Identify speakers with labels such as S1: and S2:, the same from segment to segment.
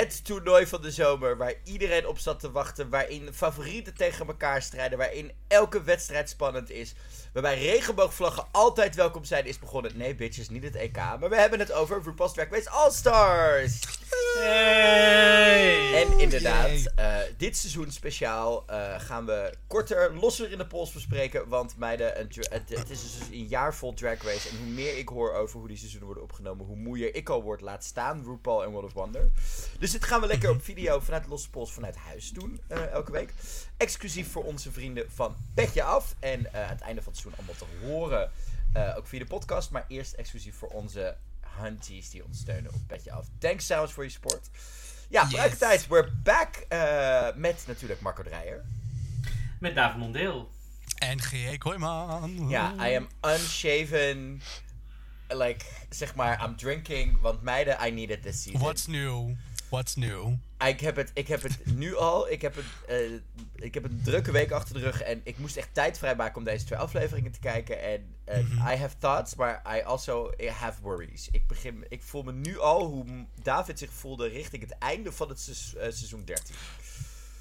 S1: Het toernooi van de zomer waar iedereen op zat te wachten. Waarin favorieten tegen elkaar strijden. Waarin elke wedstrijd spannend is. Waarbij regenboogvlaggen altijd welkom zijn is begonnen. Nee, bitches, niet het EK. Maar we hebben het over RuPaul's Drag Race All Stars.
S2: Hey!
S1: En inderdaad, eh, dit seizoen speciaal eh, gaan we korter, losser in de pols bespreken. Want meiden, een dra- het, het is dus een jaar vol Drag Race. En hoe meer ik hoor over hoe die seizoenen worden opgenomen, hoe moeier ik al word. Laat staan RuPaul en World of Wonder. Dus dit gaan we lekker op video vanuit Losse Pols vanuit huis doen, eh, elke week. Exclusief voor onze vrienden van Petje Af. En eh, aan het einde van het seizoen allemaal te horen, eh, ook via de podcast. Maar eerst exclusief voor onze hunties die ons steunen op Petje Af. Thanks trouwens voor je support. Ja,
S3: Yes.
S1: Bruiktijd, we're back eh, met natuurlijk Marco Dreyer.
S2: Met David Mondeel.
S3: En G.E. Kooijman.
S1: Ja, I am unshaven. Like, zeg maar, I'm drinking, want meiden, I need it this season.
S3: What's new? What's new?
S1: Ik heb het, ik heb het nu al. Ik heb, het, eh, ik heb een drukke week achter de rug. En ik moest echt tijd vrijmaken om deze twee afleveringen te kijken. En eh, I have thoughts, maar I also have worries. Ik, begin, ik voel me nu al hoe David zich voelde richting het einde van het seiz- eh, seizoen 13.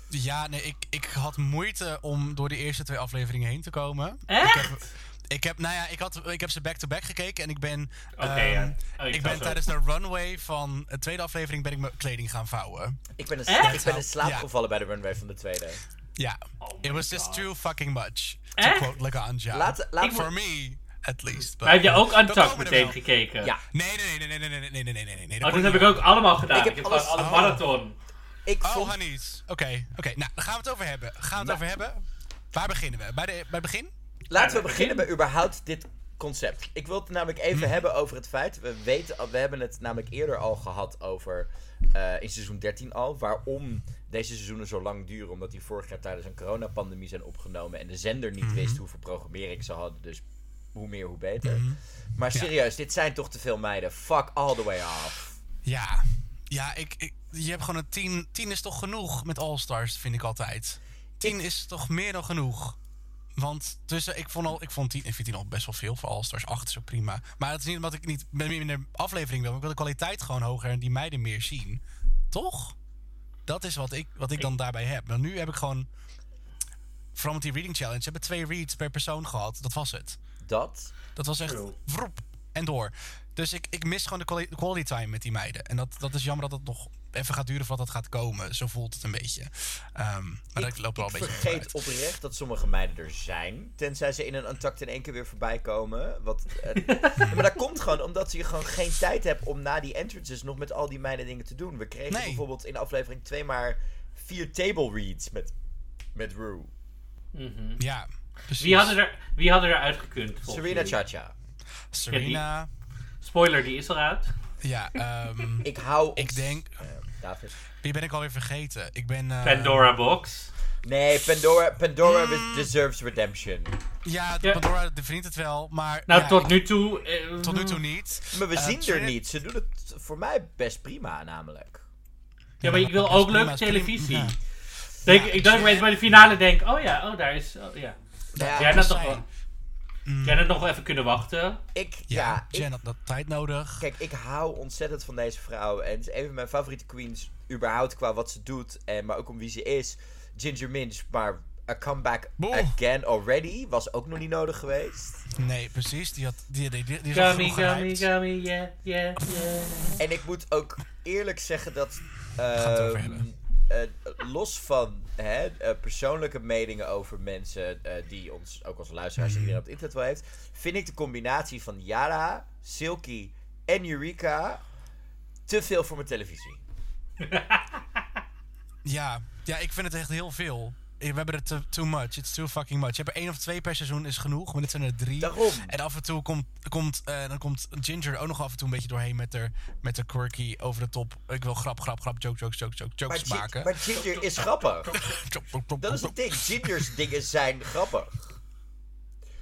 S3: Ja, nee, ik, ik had moeite om door de eerste twee afleveringen heen te komen.
S2: Echt?
S3: Ik heb, nou ja, ik, had, ik heb ze back-to-back gekeken en ik ben...
S2: Oké,
S3: ehm,
S2: ja. Oh, ik dacht
S3: ik ben
S2: zo.
S3: tijdens de runway van de tweede aflevering ben ik mijn kleding gaan vouwen.
S1: Ik ben, een,
S2: Echt?
S1: ik ben in slaap
S3: Ja.
S1: gevallen bij de runway van de tweede.
S3: Ja.
S2: Oh
S3: It
S2: my
S3: was just
S2: God.
S3: too fucking much. To
S2: Echt?
S3: quote Laganja.
S1: Laat, laat
S2: Ik
S1: voor
S3: For me, at least. But,
S2: Maar heb je ook
S3: we
S2: Untucked
S3: komen er
S2: meteen
S3: wel.
S2: gekeken?
S1: Ja.
S3: Nee, nee, nee, nee, nee, nee, nee, nee, nee, nee, nee. nee.
S2: Oh, dat heb ik ook allemaal gedaan.
S1: Ik
S2: Ik
S1: heb
S2: heb,
S1: alles-
S2: gewoon alle
S3: Oh.
S2: marathon.
S1: Ik
S3: Oh,
S1: vond, Nou,
S3: honeys. Oké, oké. Nou, daar gaan we het over hebben. Gaan we het over hebben? Waar beginnen we? Bij, de, bij het begin?
S1: Laten we
S2: Ja, begin.
S1: beginnen bij überhaupt dit concept. Ik wil het namelijk even hebben over het feit. We, weten, al- we hebben het namelijk eerder al gehad over. eh, in seizoen 13 al. Waarom deze seizoenen zo lang duren. Omdat die vorig jaar tijdens een coronapandemie zijn opgenomen. En de zender niet wist hoeveel programmering ze hadden. Dus hoe meer, hoe beter. Maar serieus, dit zijn toch te veel meiden. Fuck all the way off.
S3: Ja. Ja, ik, ik- je hebt gewoon een tien. Tien is toch genoeg met All-Stars, vind ik altijd. Tien is toch meer dan genoeg. Want tussen, ik vond, al, ik vond tien, ik vind tien al best wel veel voor All-Stars. Acht is ook prima. Maar dat is niet omdat ik niet met minder aflevering wil. Maar ik wil de kwaliteit gewoon hoger en die meiden meer zien. Toch? Dat is wat ik, wat ik dan daarbij heb. Want nu heb ik gewoon... Vooral met die reading challenge. Ze hebben twee reads per persoon gehad. Dat was het.
S1: Dat.
S3: Dat was echt
S2: True.
S3: vroep en door. Dus ik, ik mis gewoon de quali- de quality time met die meiden. En dat, dat is jammer dat het nog even gaat duren voordat dat gaat komen. Zo voelt het een beetje. Ehm, maar dat loopt wel
S1: Ik
S3: een beetje
S1: vergeet
S3: vooruit.
S1: oprecht dat sommige meiden er zijn. Tenzij ze in een untact in één keer weer voorbij komen. Wat, eh, maar dat komt gewoon omdat je gewoon geen tijd hebt om na die entrances nog met al die meiden dingen te doen. We kregen
S3: Nee.
S1: bijvoorbeeld in aflevering 2 maar vier table reads met, met Rue.
S2: Mhm.
S3: Ja, precies.
S2: Wie hadden er, wie hadden er uitgekund? volgens
S1: Serena
S2: jullie?
S1: Chacha.
S3: Serena.
S2: Spoiler, die is al uit.
S3: Ja, ehm,
S1: Ik hou...
S3: ik
S1: ons-
S3: denk...
S1: Eh, David.
S3: Wie ben ik alweer vergeten? Ik ben... eh,
S2: Pandora Box.
S1: Nee, Pandora, Pandora
S3: Ah.
S1: deserves redemption.
S3: Ja,
S2: Ja.
S3: Pandora die verdient het wel, maar...
S2: Nou,
S3: ja,
S2: tot
S3: ik-
S2: nu toe... eh,
S3: tot nu toe niet.
S1: Maar we
S3: Eh,
S1: zien er
S3: Serena-
S1: niet. Ze doen het voor mij best prima namelijk.
S2: Ja, maar ik wil
S3: dat is
S2: ook
S3: prima,
S2: leuke
S3: is prima.
S2: televisie.
S3: Ja.
S2: Denk, ik
S3: Ja,
S2: dat ik
S3: Serena-
S2: weet bij de finale denk, oh ja, oh daar is... Oh, ja.
S1: Nou
S2: Jij
S1: ja,
S2: had nog
S3: zij-
S2: wel... Jij had nog wel even kunnen wachten.
S1: ik, ja,
S3: Ja,
S1: ik-
S3: Jen had dat tijd nodig.
S1: Kijk, ik hou ontzettend van deze vrouw. En het is een van mijn favoriete queens. überhaupt qua wat ze doet. En, maar ook om wie ze is. Ginger Minch. Maar a comeback
S3: Boeh.
S1: again already. Was ook nog niet nodig geweest.
S3: Nee, precies. Die, had, die, die, die, die is al
S2: Gummy,
S3: genoeg
S2: gummy,
S3: gehyped.
S2: gummy, yeah, yeah, yeah.
S1: En ik moet ook eerlijk zeggen dat.
S3: gaan het
S1: ehm,
S3: over hebben.
S1: eh, los van hè, eh, persoonlijke meningen over mensen eh, die ons ook als luisteraars
S3: Mhm.
S1: die iedereen op het internet wel heeft, vind ik de combinatie van Yara, Silky en Eureka te veel voor mijn televisie.
S3: Ja, ja, ik vind het echt heel veel. Eh, We hebben er te- too much. It's too fucking much. Je hebt er één of twee per seizoen is genoeg, maar dit zijn er drie.
S1: Daarom.
S3: En af en toe komt, komt, eh, dan komt Ginger ook nog af en toe een beetje doorheen met haar, met haar quirky over de top. Ik wil grap, grap, grap, joke, jokes, jokes, jokes,
S1: Maar,
S3: jokes
S1: Gin-
S3: maken.
S1: maar Ginger is grappig.
S3: Chop, chop, chop,
S1: Dat is
S3: chop,
S1: het ding. Gingers dingen zijn grappig.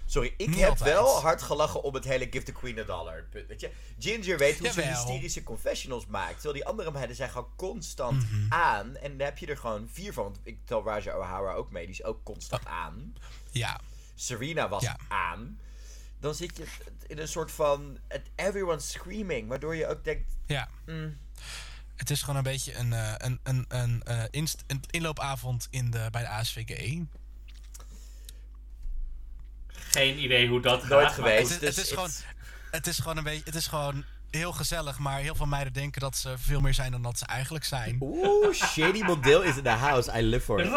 S1: Sorry, ik
S3: Niet
S1: heb
S3: altijd.
S1: wel hard gelachen om het hele Give the Queen a Dollar. punt, Weet je? Ginger weet hoe ze
S3: Jawel.
S1: hysterische confessionals maakt. Terwijl die andere meiden zijn gewoon constant
S3: Mhm.
S1: aan. En daar heb je er gewoon vier van. Want ik tel Raja O'Hara ook mee. Die is ook constant aan.
S3: chop. Ja,
S1: Serena was
S3: Oh. Ja.
S1: aan. Dan zit je Mm. in een soort van het everyone screaming. Waardoor je ook denkt,
S3: ja. Het is gewoon een beetje een, eh, een, een, een, eh, inst- een inloopavond in de, bij de ASVG.
S2: Geen idee hoe dat
S4: Nooit
S2: gaat,
S4: geweest.
S2: maar
S3: Het, is- het
S4: dus
S3: is gewoon,
S4: it's-
S3: het is gewoon een beetje, het is gewoon heel gezellig, maar heel veel meiden denken dat ze veel meer zijn dan dat ze eigenlijk zijn.
S1: Oeh, Shady Model is in the house. I live for it.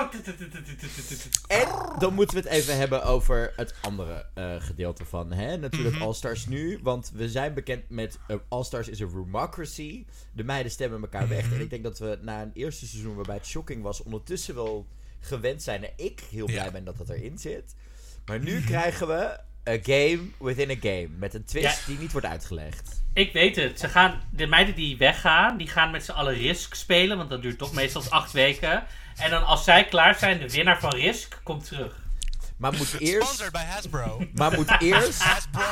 S2: goed.
S1: En dan moeten we het even hebben over het andere eh, gedeelte van, hè? Natuurlijk All Stars nu, want we zijn bekend met eh, All Stars is a rumocracy. De meiden stemmen elkaar weg. En ik denk dat we na een eerste seizoen waarbij het shocking was, ondertussen wel gewend zijn. En ik heel blij
S3: Ja.
S1: ben dat dat erin zit. Maar nu krijgen we a game within a game. Met een twist
S2: Ja.
S1: die niet wordt uitgelegd.
S2: Ik weet het. Ze gaan, de meiden die weggaan, die gaan met z'n allen Risk spelen. Want dat duurt toch meestal acht weken. En dan als zij klaar zijn, de winnaar van Risk komt terug.
S1: Maar moet
S3: Sponsored
S1: eerst,
S3: bij Hasbro.
S1: maar moet eerst,
S3: Hasbro.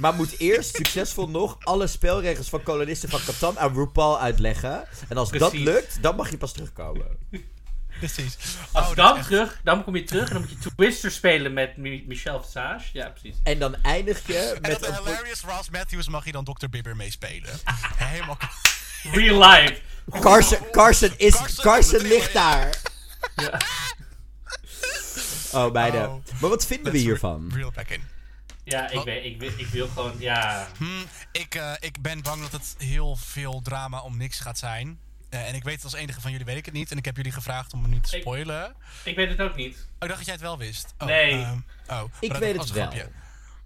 S1: maar moet eerst succesvol nog alle spelregels van kolonisten van Catan aan RuPaul uitleggen. En als dat
S2: Precies.
S1: lukt, dan mag je pas terugkomen.
S3: Precies.
S2: Als
S3: Oh, dat
S2: dan
S3: is echt-
S2: terug, dan kom je terug. En dan moet je Twister spelen met Mi- Michel Visage. Ja, precies.
S1: En dan eindig je
S3: En dat
S1: met
S3: de
S1: een... po-
S3: hilarious Ross Matthews mag je dan Dr. Bibber meespelen. Helemaal k-
S2: Real life.
S1: Carson, Carson is...
S3: Carson-
S1: Carson ligt daar!
S2: Ja.
S1: Oh, beide.
S3: Oh.
S1: Maar wat vinden we
S3: Let's re-
S1: hiervan?
S3: Reel it back in.
S2: Ja, ik,
S3: Wat?
S2: weet, ik, wil- ik wil gewoon, ja.
S3: Hmm, ik, eh, ik ben bang dat het heel veel drama om niks gaat zijn. Eh, en ik weet het als enige van jullie weet ik het niet. En ik heb jullie gevraagd om me niet te
S2: Ik-
S3: spoilen. Oh,
S2: Ik weet het ook niet.
S3: ik dacht dat jij het wel wist. Oh,
S2: Nee.
S3: ehm, oh,
S1: Ik
S3: maar dat
S1: weet
S3: was
S1: het
S3: een
S1: wel.
S3: grapje.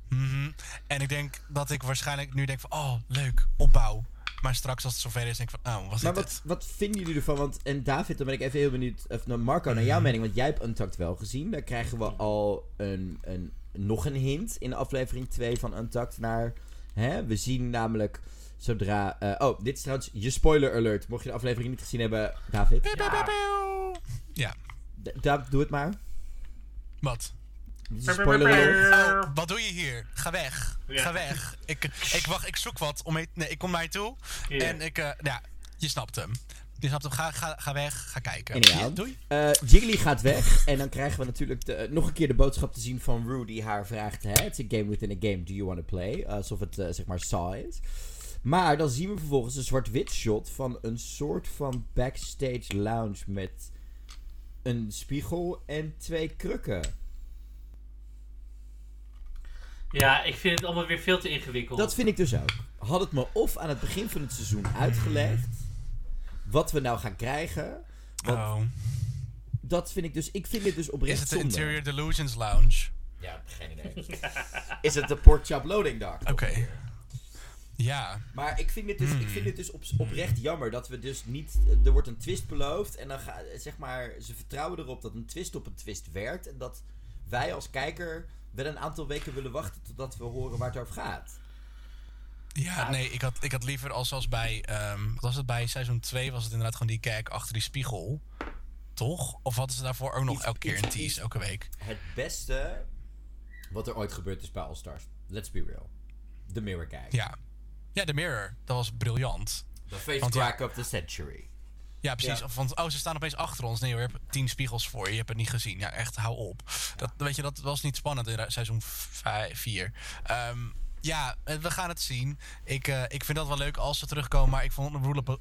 S3: Mhm. En ik denk dat ik waarschijnlijk nu denk van... Oh, leuk, opbouw. Maar straks als het zover is, denk ik van... Oh, was
S1: Maar
S3: dit het?
S1: wat, wat vinden jullie ervan? Want, en David, dan ben ik even heel benieuwd... Of nou, Marco, naar jouw mening. Want jij hebt Untucked wel gezien. Daar krijgen we al een, een, nog een hint in aflevering 2 van Untucked naar... Hè? We zien namelijk zodra... eh, oh, dit is trouwens je spoiler alert. Mocht je de aflevering niet gezien hebben, David.
S2: Ja.
S3: Ja,
S1: D- David, doe het maar.
S3: wat?
S1: Dit is een spoiler alert.
S3: Oh, wat doe je hier? Ga weg.
S2: Ja.
S3: Ga weg. Ik, ik wacht, ik zoek wat. Om mee- nee, ik kom naar je toe.
S2: Ja.
S3: En ik, eh, nou ja, je snapt hem. Je snapt hem. Ga, ga, ga weg. Ga kijken.
S1: Anyhow.
S3: Ja, doei.
S1: Eh, Jiggly gaat weg en dan krijgen we natuurlijk de- eh, nog een keer de boodschap te zien van Rue die haar vraagt, hè, it's a game within a game, do you want to play? Alsof het, eh, zeg maar, Saw is. Maar dan zien we vervolgens een zwart-wit shot van een soort van backstage lounge met een spiegel en twee krukken.
S2: Ja, ik vind het allemaal weer veel te ingewikkeld.
S1: Dat vind ik dus ook. Had het me of aan het begin van het seizoen uitgelegd wat we nou gaan krijgen, want
S3: Oh.
S1: dat vind ik dus, ik vind dit dus
S3: Is
S1: oprecht
S3: het de
S1: zonde.
S3: Interior Delusions Lounge?
S1: Ja, geen idee. is het de pork chop loading dag?
S3: Oké. Ja.
S1: Maar ik vind dit dus,
S3: Hmm.
S1: ik vind dit dus op, oprecht jammer dat we dus niet. Er wordt een twist beloofd en dan ga, zeg maar, ze vertrouwen erop dat een twist op een twist werkt. En dat wij als kijker wel een aantal weken willen wachten totdat we horen waar het over gaat.
S3: Ja, nee, ik had, ik had liever als zoals bij, ehm, wat was het bij seizoen 2, was het inderdaad gewoon die kijk achter die spiegel. Toch? Of hadden ze daarvoor ook nog
S1: Iets-
S3: elke keer
S1: iets-
S3: een tease, elke week?
S1: Het beste wat er ooit gebeurd is bij All Stars. Let's be real. The Mirror Guy.
S3: Ja. Ja, de Mirror. Dat was briljant.
S1: The face
S3: Want ja.
S1: crack of the century.
S3: Ja, precies.
S2: Ja.
S3: Of Want, oh, ze staan opeens achter ons. Nee, we hebben tien spiegels voor je. Je hebt het niet gezien. Ja, echt, hou op. Dat, weet je, dat was niet spannend in ra- seizoen 4. ja, eh, we gaan het zien. Ik, eh, ik vind dat wel leuk als ze terugkomen. Maar ik vond Roelapa-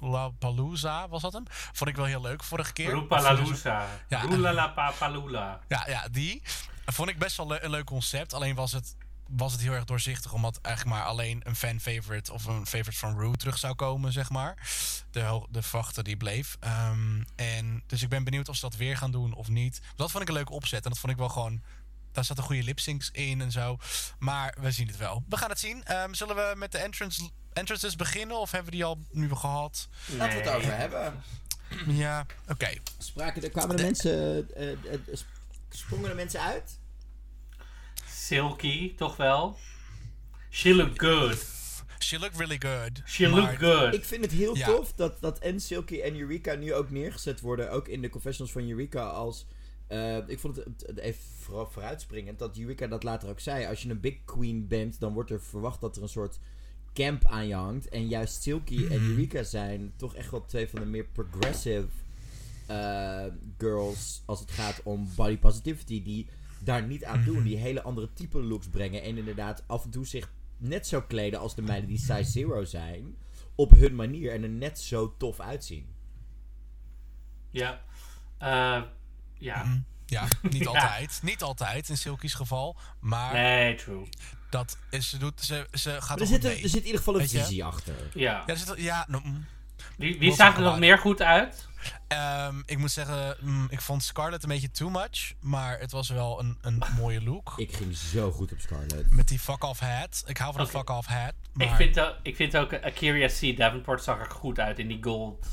S3: Roelapalooza, was dat hem? Vond ik wel heel leuk vorige keer.
S2: Roepalalusa.
S3: Ja.
S2: Roelalapapalula.
S3: Ja, ja, die. Vond ik best wel le- een leuk concept. Alleen was het, was het heel erg doorzichtig. Omdat eigenlijk maar alleen een fan-favorite of een favorite van Rue terug zou komen, zeg maar. De, ho- de vachter die bleef. Ehm, en, dus ik ben benieuwd of ze dat weer gaan doen of niet. Dat vond ik een leuke opzet. En dat vond ik wel gewoon... Daar zaten goede lipsyncs in en zo. Maar we zien het wel. We gaan het zien. Ehm, zullen we met de entrance, entrances beginnen? Of hebben we die al nu gehad?
S1: Laten we het
S2: Nee.
S1: over hebben.
S3: Ja, oké.
S1: Spraken, er kwamen de mensen. eh, eh, eh, sp- sprongen de mensen uit?
S2: Silky, toch wel? She look good.
S3: She looked really good.
S2: She
S3: Maar-
S2: look good.
S1: Ik vind het heel
S3: Ja.
S1: tof dat, dat en Silky en Eureka nu ook neergezet worden. Ook in de confessionals van Eureka als... eh, ik vond het het- even vooral vooruitspringend dat Eureka dat later ook zei. Als je een big queen bent, dan wordt er verwacht dat er een soort camp aan je hangt. En juist Silky en Eureka zijn toch echt wel twee van de meer progressive eh, girls als het gaat om body positivity. Die daar niet aan
S3: Mhm.
S1: doen. Die hele andere type looks brengen. En inderdaad af en toe zich net zo kleden als de meiden die size zero zijn. op hun manier en er net zo tof uitzien.
S2: Ja. Eh, ja.
S3: Ja, niet altijd. Niet altijd in Silky's geval. Maar
S2: Nee, true.
S3: dat is, ze, doet, ze, ze gaat
S1: Maar er
S3: toch
S1: zit,
S3: goed
S1: een-
S3: mee.
S1: er zit in ieder geval een
S3: Weet je?
S1: visie achter.
S2: Ja.
S3: Ja, er zit, wel- ja nou, mm.
S2: Wie, wie
S3: Los
S2: zag er nog
S3: gemaakt.
S2: meer goed uit?
S3: Ehm, ik moet zeggen, mm, ik vond Scarlett een beetje too much. Maar het was wel een, een mooie look.
S1: Ik ging zo goed op Scarlett.
S3: Met die fuck-off hat. Ik hou van
S2: Oké.
S3: de fuck-off hat. Maar
S2: Ik, vind, ook- ik vind ook eh, Akira C. Davenport zag er goed uit in die gold.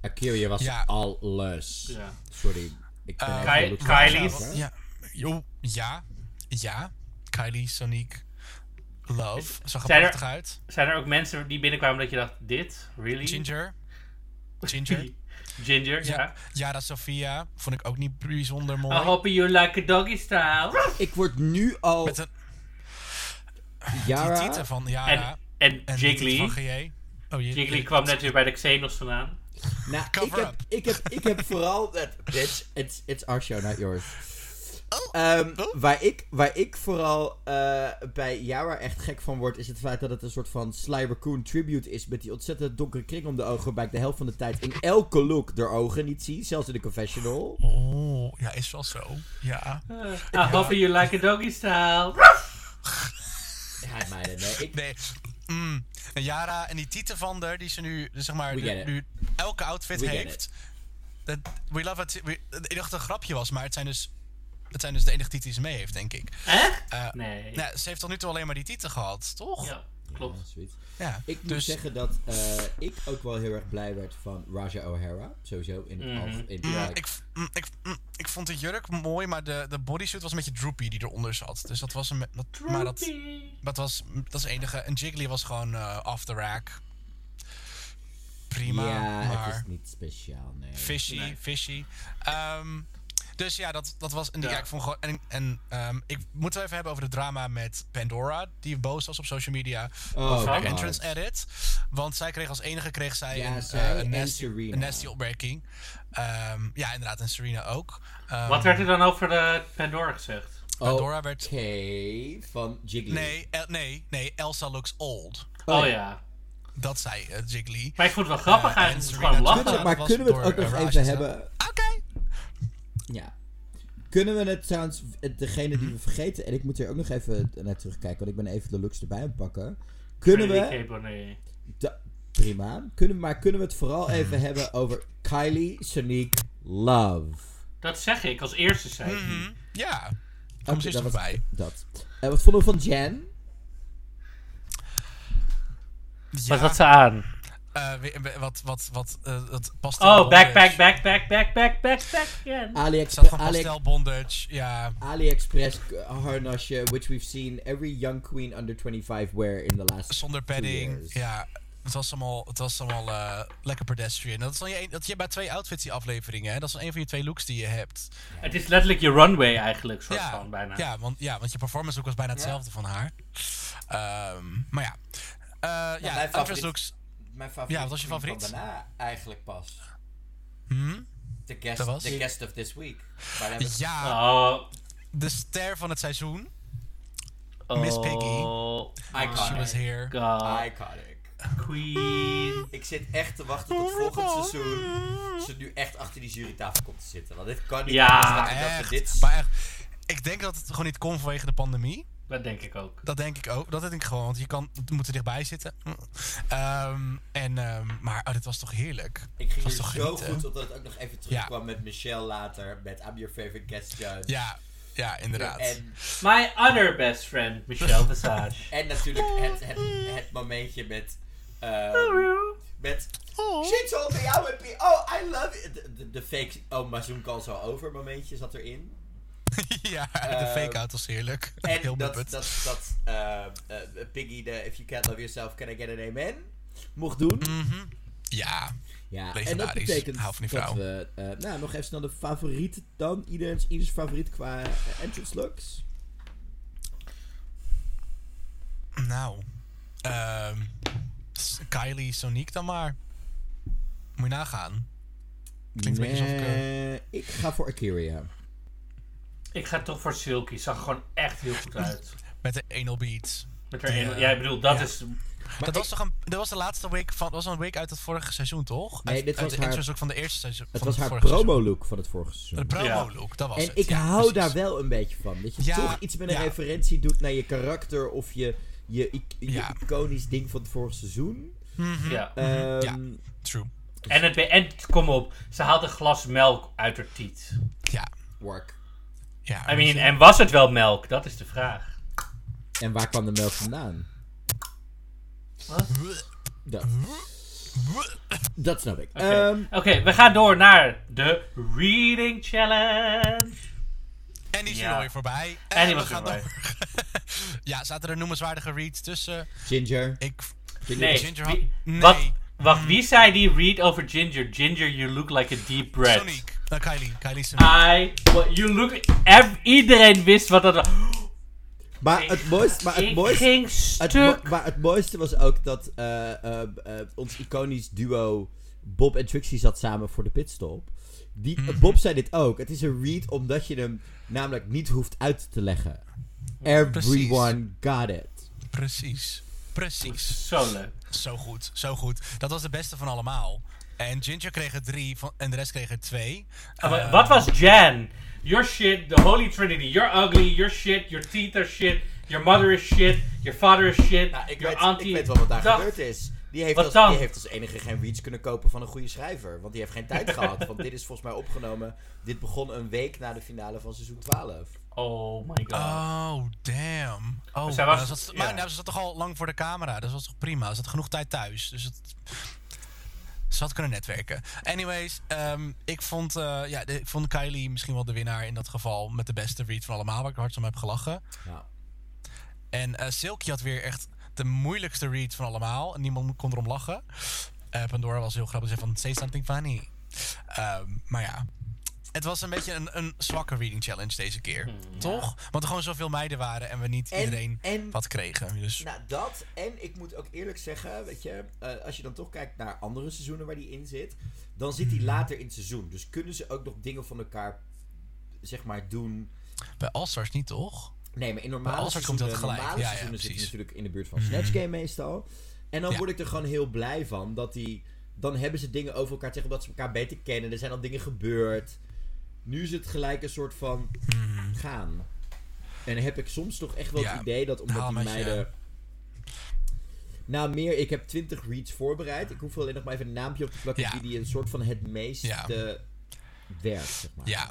S1: Akira was
S3: Ja. Eh,
S1: alles.
S2: Ja.
S1: Sorry. Ik ben even
S2: Ky-
S1: Luke
S2: Kylie.
S1: Cage, hè?
S3: Ja. Jo, ja. Ja. Kylie, Sonic, Love. Zag er
S2: Zijn er-
S3: prachtig uit.
S2: Zijn er ook mensen die binnenkwamen dat je dacht, dit? Really?
S3: Ginger. Ginger.
S2: Ginger, ja.
S3: Ja, Yara Sofia vond ik ook niet bijzonder mooi.
S2: I hope you like a doggy style.
S1: Ik word nu al
S3: Met een
S1: Yara.
S3: titel van Yara.
S2: En, en
S3: En
S2: Jiggly.
S3: Van GJ. Oh, je,
S2: Jiggly kwam net weer bij de Xenos vandaan.
S1: Nou, ik
S3: Cover
S1: heb,
S3: up.
S1: ik heb, ik heb vooral... Dat, it's, it's, it's our show, not yours.
S3: Oh,
S1: Ehm, waar, ik, waar ik vooral eh, bij Yara echt gek van word, is het feit dat het een soort van Sly Raccoon tribute is. Met die ontzettend donkere kring om de ogen, waarbij ik de helft van de tijd in elke look de ogen niet zie. Zelfs in de confessional.
S3: Oh, ja, is wel zo. Ja.
S2: I hope you like a doggy style.
S1: Ja, meiden, nee. Ik,
S3: Nee. Mm. En Yara en die titel van der, die ze nu, dus zeg maar,
S1: We get it.
S3: nu elke outfit
S1: We get
S3: heeft. Dat, we love it. We, ik dacht dat het een grapje was, maar het zijn dus, het zijn dus de enige titels die ze mee heeft, denk ik.
S2: Echt?
S3: Eh,
S2: nee.
S3: Nou, ze heeft tot nu toe alleen maar die titel gehad, toch?
S2: Ja, klopt.
S1: Oh, Zoiets.
S3: Ja.
S1: Ik moet
S3: dus,
S1: zeggen dat eh, ik ook wel heel erg blij werd van Raja O'Hara. Sowieso in het
S2: Mhm.
S1: alf- in
S3: Mm,
S1: ja,
S3: ik, v- mm, ik, mm, ik vond de jurk mooi, maar de, de bodysuit was een beetje droopy die eronder zat. Dus dat was een... Dat, maar dat,
S2: Droopy.
S3: dat was... Dat is het enige. En Jiggly was gewoon eh off the rack. Prima,
S1: ja, het
S3: maar...
S1: is niet speciaal, nee.
S3: Fishy,
S2: Nee.
S3: fishy. Ehm, dus ja, dat, dat was... En, die-
S2: Ja.
S3: ja. ik vond gewoon... En, en ehm, ik moet het even hebben over de drama met Pandora. Die boos was op social media.
S1: Oh,
S3: over
S2: God.
S3: de entrance edit. Want zij kreeg als enige kreeg zij
S1: Ja,
S3: een, eh,
S1: zij
S3: een
S1: en
S3: nasty,
S1: Serena.
S3: een nasty opmerking. Ehm, ja, inderdaad. En Serena ook. Ehm,
S2: Wat werd er dan over de Pandora gezegd?
S3: Pandora werd-
S1: Oh, Oké, van Jiggly. Ah,
S3: Nee, El- nee, nee, Elsa looks old.
S2: Oh,
S1: ja.
S2: ja.
S3: Dat zei eh, Jiggly.
S2: Maar ik vond het wel grappig
S3: Eh, en
S2: eigenlijk. Het is
S3: Serena
S2: gewoon
S3: Twitter,
S2: lachen.
S1: maar
S3: was
S1: kunnen we het
S3: door,
S1: ook nog
S3: eh, Raj
S1: even
S3: gedaan.
S1: hebben?
S3: Oké.
S1: Ja. Kunnen we het trouwens, degene
S3: Mhm.
S1: die we vergeten, en ik moet hier ook nog even naar terugkijken, want ik ben even de looks erbij aan het pakken. Kunnen we,
S2: Enrique Bonet.
S1: da- prima, kunnen, maar kunnen we het vooral even hebben over Kylie Sonique Love?
S2: Dat zeg ik als eerste zei ik die.
S3: Mhm, Ja.
S1: Oké,
S3: Kom ze eens
S1: dat was-
S3: voorbij.
S1: Dat. En wat vonden we van Jan?
S3: Ja,
S2: Wat had ze aan?
S3: eh, we- we- wat, wat, wat, eh, dat pastel
S2: Oh, back,
S3: bondage.
S2: back, back, back, back, back, back, back. again.
S3: Zat
S1: AliExpress,
S3: van pastel bondage, ja.
S1: AliExpress eh, harnasje, which we've seen every young queen under 25 wear in the last
S3: Zonder
S1: two
S3: padding,
S1: years.
S3: ja. Het was allemaal, het was allemaal eh, lekker pedestrian. Dat is dan je, een- dat je bij twee outfits die afleveringen, hè. Dat is dan een van je twee looks die je hebt.
S2: Het is letterlijk je runway eigenlijk, soort
S3: Ja,
S2: van, bijna.
S3: ja, want, ja, want je performance look was bijna hetzelfde van haar. Ehm, maar ja. Eh,
S1: mijn
S3: ja, outfits
S1: favoriet-
S3: looks.
S1: Mijn favoriet.
S3: Ja, wat was je favoriet?
S1: Van
S3: Hmm?
S1: daarna eigenlijk pas. The guest,
S3: Dat was-
S1: the guest of this week. Maar dan hebben-
S3: Ja,
S2: Oh,
S3: de ster van het seizoen.
S2: oh,
S3: Miss Piggy. She was
S1: Iconic.
S3: here.
S2: God.
S1: Iconic.
S2: Queen.
S1: Ik zit echt te wachten tot volgend seizoen. Ze nu echt achter die jurytafel komt te zitten. Want dit kan niet.
S2: Ja,
S1: anders dan dat we
S3: Echt,
S1: dit-
S3: maar echt. Ik denk dat het gewoon niet kon vanwege de pandemie.
S2: Dat denk ik ook.
S3: Dat denk ik ook. Dat denk ik gewoon, want je kan, moet er dichtbij zitten. Ehm, en, ehm, maar oh, dit was toch heerlijk.
S1: Ik ging
S3: was
S1: er zo
S3: toch genieten?
S1: goed op dat het ook nog even terugkwam met Michelle later. Met I'm your favorite guest judge.
S3: Ja, ja inderdaad.
S1: En,
S2: My other best friend, Michelle Visage.
S1: en natuurlijk het, het, het momentje met... ehm, met...
S3: Oh.
S1: She told me I would be... Oh, I love it. De, de, de fake... Oh, Mazoen kan zo over momentje zat erin.
S3: ja, de fake-out was heerlijk. Heel
S1: Ehm, En dat,
S3: muppet.
S1: dat, dat eh, eh, Piggy de If You Can't Love Yourself, Can I Get An Amen? mocht doen.
S3: Mhm. Ja,
S1: Ja, en dat
S3: Legendarisch.
S1: betekent
S3: Hou van die
S1: dat
S3: vrouw.
S1: we... eh, nou, nog even snel de favoriet dan. Iedereen's, ieders favoriet qua eh, entrance looks.
S3: nou. ehm, S- Kylie, Sonique dan maar. Moet je nagaan. Klinkt een beetje alsof ik, eh,
S1: Nee, ik ga voor Akira.
S2: Ik ga toch voor Silky. Zag er gewoon echt heel goed uit.
S3: Met de anal beat.
S2: Met haar ene-
S3: Ja.
S2: ja, ik bedoel, dat
S3: Ja.
S2: is
S3: dat,
S1: ik-
S3: was toch een, dat was de laatste week van, dat was een week uit het vorige seizoen, toch?
S1: Nee,
S3: Uit-
S1: dit
S3: uit
S1: was
S3: de
S1: haar-
S3: entrance ook van de eerste seizoen.
S1: Het
S3: van
S1: was
S3: het
S1: haar
S3: vorige seizoen.
S1: promo-look van het vorige seizoen.
S3: De promo-look, dat was
S1: En
S3: het.
S1: ik
S3: ja,
S1: hou
S3: precies.
S1: daar wel een beetje van. Dat je
S3: Ja,
S1: toch iets met een
S3: ja.
S1: referentie doet naar je karakter of je, je, i- je
S3: Ja.
S1: iconisch ding van het vorige seizoen.
S3: Mhm,
S2: Ja.
S1: Ehm,
S3: True.
S2: En, het, en kom op, ze had een glas melk uit haar tiet.
S3: Ja.
S1: Work.
S3: ja
S2: I
S3: weet
S2: mean,
S3: je.
S2: en was het wel melk? Dat is de vraag.
S1: En waar kwam de melk vandaan? Dat, dat snap ik.
S2: Oké,
S1: Ehm,
S2: Oké, we gaan door naar de Reading Challenge.
S3: En die is
S2: Ja.
S3: er alweer voorbij. En,
S2: die was
S3: we gaan
S2: er
S3: door. ja, zaten er noemenswaardige reads tussen.
S1: Ginger.
S3: Ik...
S1: Ginger.
S2: Nee,
S3: Ginger had-
S2: wie-
S3: Nee. Mhm.
S2: Wat, wacht, wie zei die read over Ginger? Ginger, you look like a deep breath.
S3: Sonic. Eh, Kylie. Kylie Sonic.
S2: I, what, you look, ev- iedereen wist wat dat was.
S1: Maar het mooiste, maar het
S2: Ik
S1: mooiste,
S2: ging
S1: het mo-
S2: stuk.
S1: maar het mooiste was ook dat eh, eh, eh, ons iconisch duo Bob en Trixie zat samen voor de pitstop. Die,
S2: Mhm.
S1: Bob zei dit ook. Het is een read omdat je hem namelijk niet hoeft uit te leggen. Everyone got it.
S3: Precies. Precies.
S2: Zo leuk.
S3: Zo goed, zo goed. Dat was de beste van allemaal. En Ginger kreeg er drie van, en de rest kreeg er twee.
S2: Ah, maar
S3: Eh,
S2: wat was Jan? Your shit, the holy trinity. You're ugly, your shit, your teeth are shit, your mother is shit, your father is shit,
S3: Nou,
S1: ik,
S2: your
S1: weet,
S2: auntie...
S1: ik weet wel wat daar
S2: Dag.
S1: gebeurd is. Die heeft,
S2: Wat
S1: als,
S2: dan?
S1: die heeft als enige geen reads kunnen kopen van een goede schrijver. Want die heeft geen tijd gehad. Want dit is volgens mij opgenomen. Dit begon een week na de finale van seizoen 12.
S2: Oh my god.
S3: Oh, damn. Oh,
S2: zij
S3: zij
S2: Dus was-
S3: was, maar
S2: ja.
S3: nou, ze zat toch al lang voor de camera. Dus dat was toch prima. Ze had genoeg tijd thuis. Dus het... Ze had kunnen netwerken. Anyways, ehm, ik, vond, eh, ja, de- ik vond Kylie misschien wel de winnaar in dat geval. Met de beste read van allemaal, waar ik hard om heb gelachen.
S1: Ja.
S3: En eh Silky had weer echt de moeilijkste read van allemaal. En niemand kon erom lachen. Eh, Pandora was heel grappig. Ze zei van, say something funny. Ehm, maar ja, het was een beetje een, een zwakke reading challenge deze keer.
S2: Hmm,
S3: Toch? Want er gewoon zoveel meiden waren en we niet
S1: En-
S3: iedereen
S1: en-
S3: wat kregen. Dus
S1: Nou, dat. En ik moet ook eerlijk zeggen, weet je, eh, als je dan toch kijkt naar andere seizoenen waar die in zit, dan zit die later in het seizoen. Dus kunnen ze ook nog dingen van elkaar, zeg maar, doen.
S3: bij All-Stars niet, toch?
S1: Nee, maar in
S3: Maar
S1: normale
S3: als er komt dat
S1: seizoenen,
S3: gelijk.
S1: normale
S3: Ja, ja,
S1: seizoenen zit je
S3: precies. Mhm.
S1: natuurlijk in de buurt van Snatch Game meestal. En dan
S3: Ja.
S1: word ik er gewoon heel blij van dat die... Dan hebben ze dingen over elkaar tegen omdat ze elkaar beter kennen. Er zijn al dingen gebeurd. Nu is het gelijk een soort van gaan. En heb ik soms toch echt wel
S3: Mhm. Ja,
S1: het idee dat omdat
S3: haal
S1: die
S3: hem uit je-
S1: meiden... Nou, meer, ik heb 20 reads voorbereid. Ik hoef alleen nog maar even een naampje op te plakken
S3: Ja.
S1: die die een soort van het meeste
S3: Ja.
S1: werkt, zeg maar.
S3: Ja,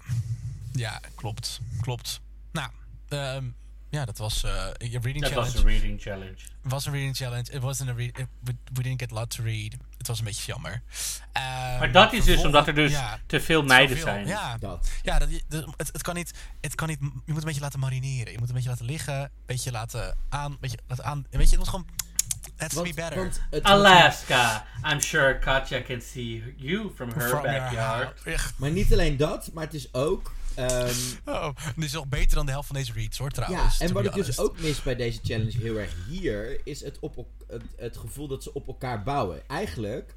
S3: ja klopt. Klopt. Nou, ehm, ja, dat was eh, je reading
S2: Dat was
S3: challenge.
S2: de reading challenge.
S3: was een reading challenge. It wasn't a read. it- we, we didn't get a lot to read. Het was een beetje jammer. Ehm,
S2: Maar dat is dus
S3: vervolgens-
S2: omdat er dus
S3: ja,
S2: te veel meiden
S3: zoveel.
S2: zijn.
S3: Ja,
S1: Dat.
S3: ja dat, dat- het, het kan niet, het kan niet. Je moet een beetje laten marineren. Je moet een beetje laten liggen. Een beetje laten aan. Een beetje laten aan. Weet je, het moet gewoon. Let's be
S1: Want-
S3: better.
S1: want het-
S2: Alaska. I'm sure Katja can see you from her
S3: From your
S2: backyard.
S3: house. Echt.
S1: Maar niet alleen dat, maar het is ook... ehm,
S3: Oh, dit is nog beter dan de helft van deze reads hoor
S1: Ja,
S3: trouwens.
S1: en
S3: to
S1: wat
S3: be
S1: ik dus
S3: honest.
S1: ook mis bij deze challenge heel erg hier, is het, op, elk- het, het gevoel dat ze op elkaar bouwen. Eigenlijk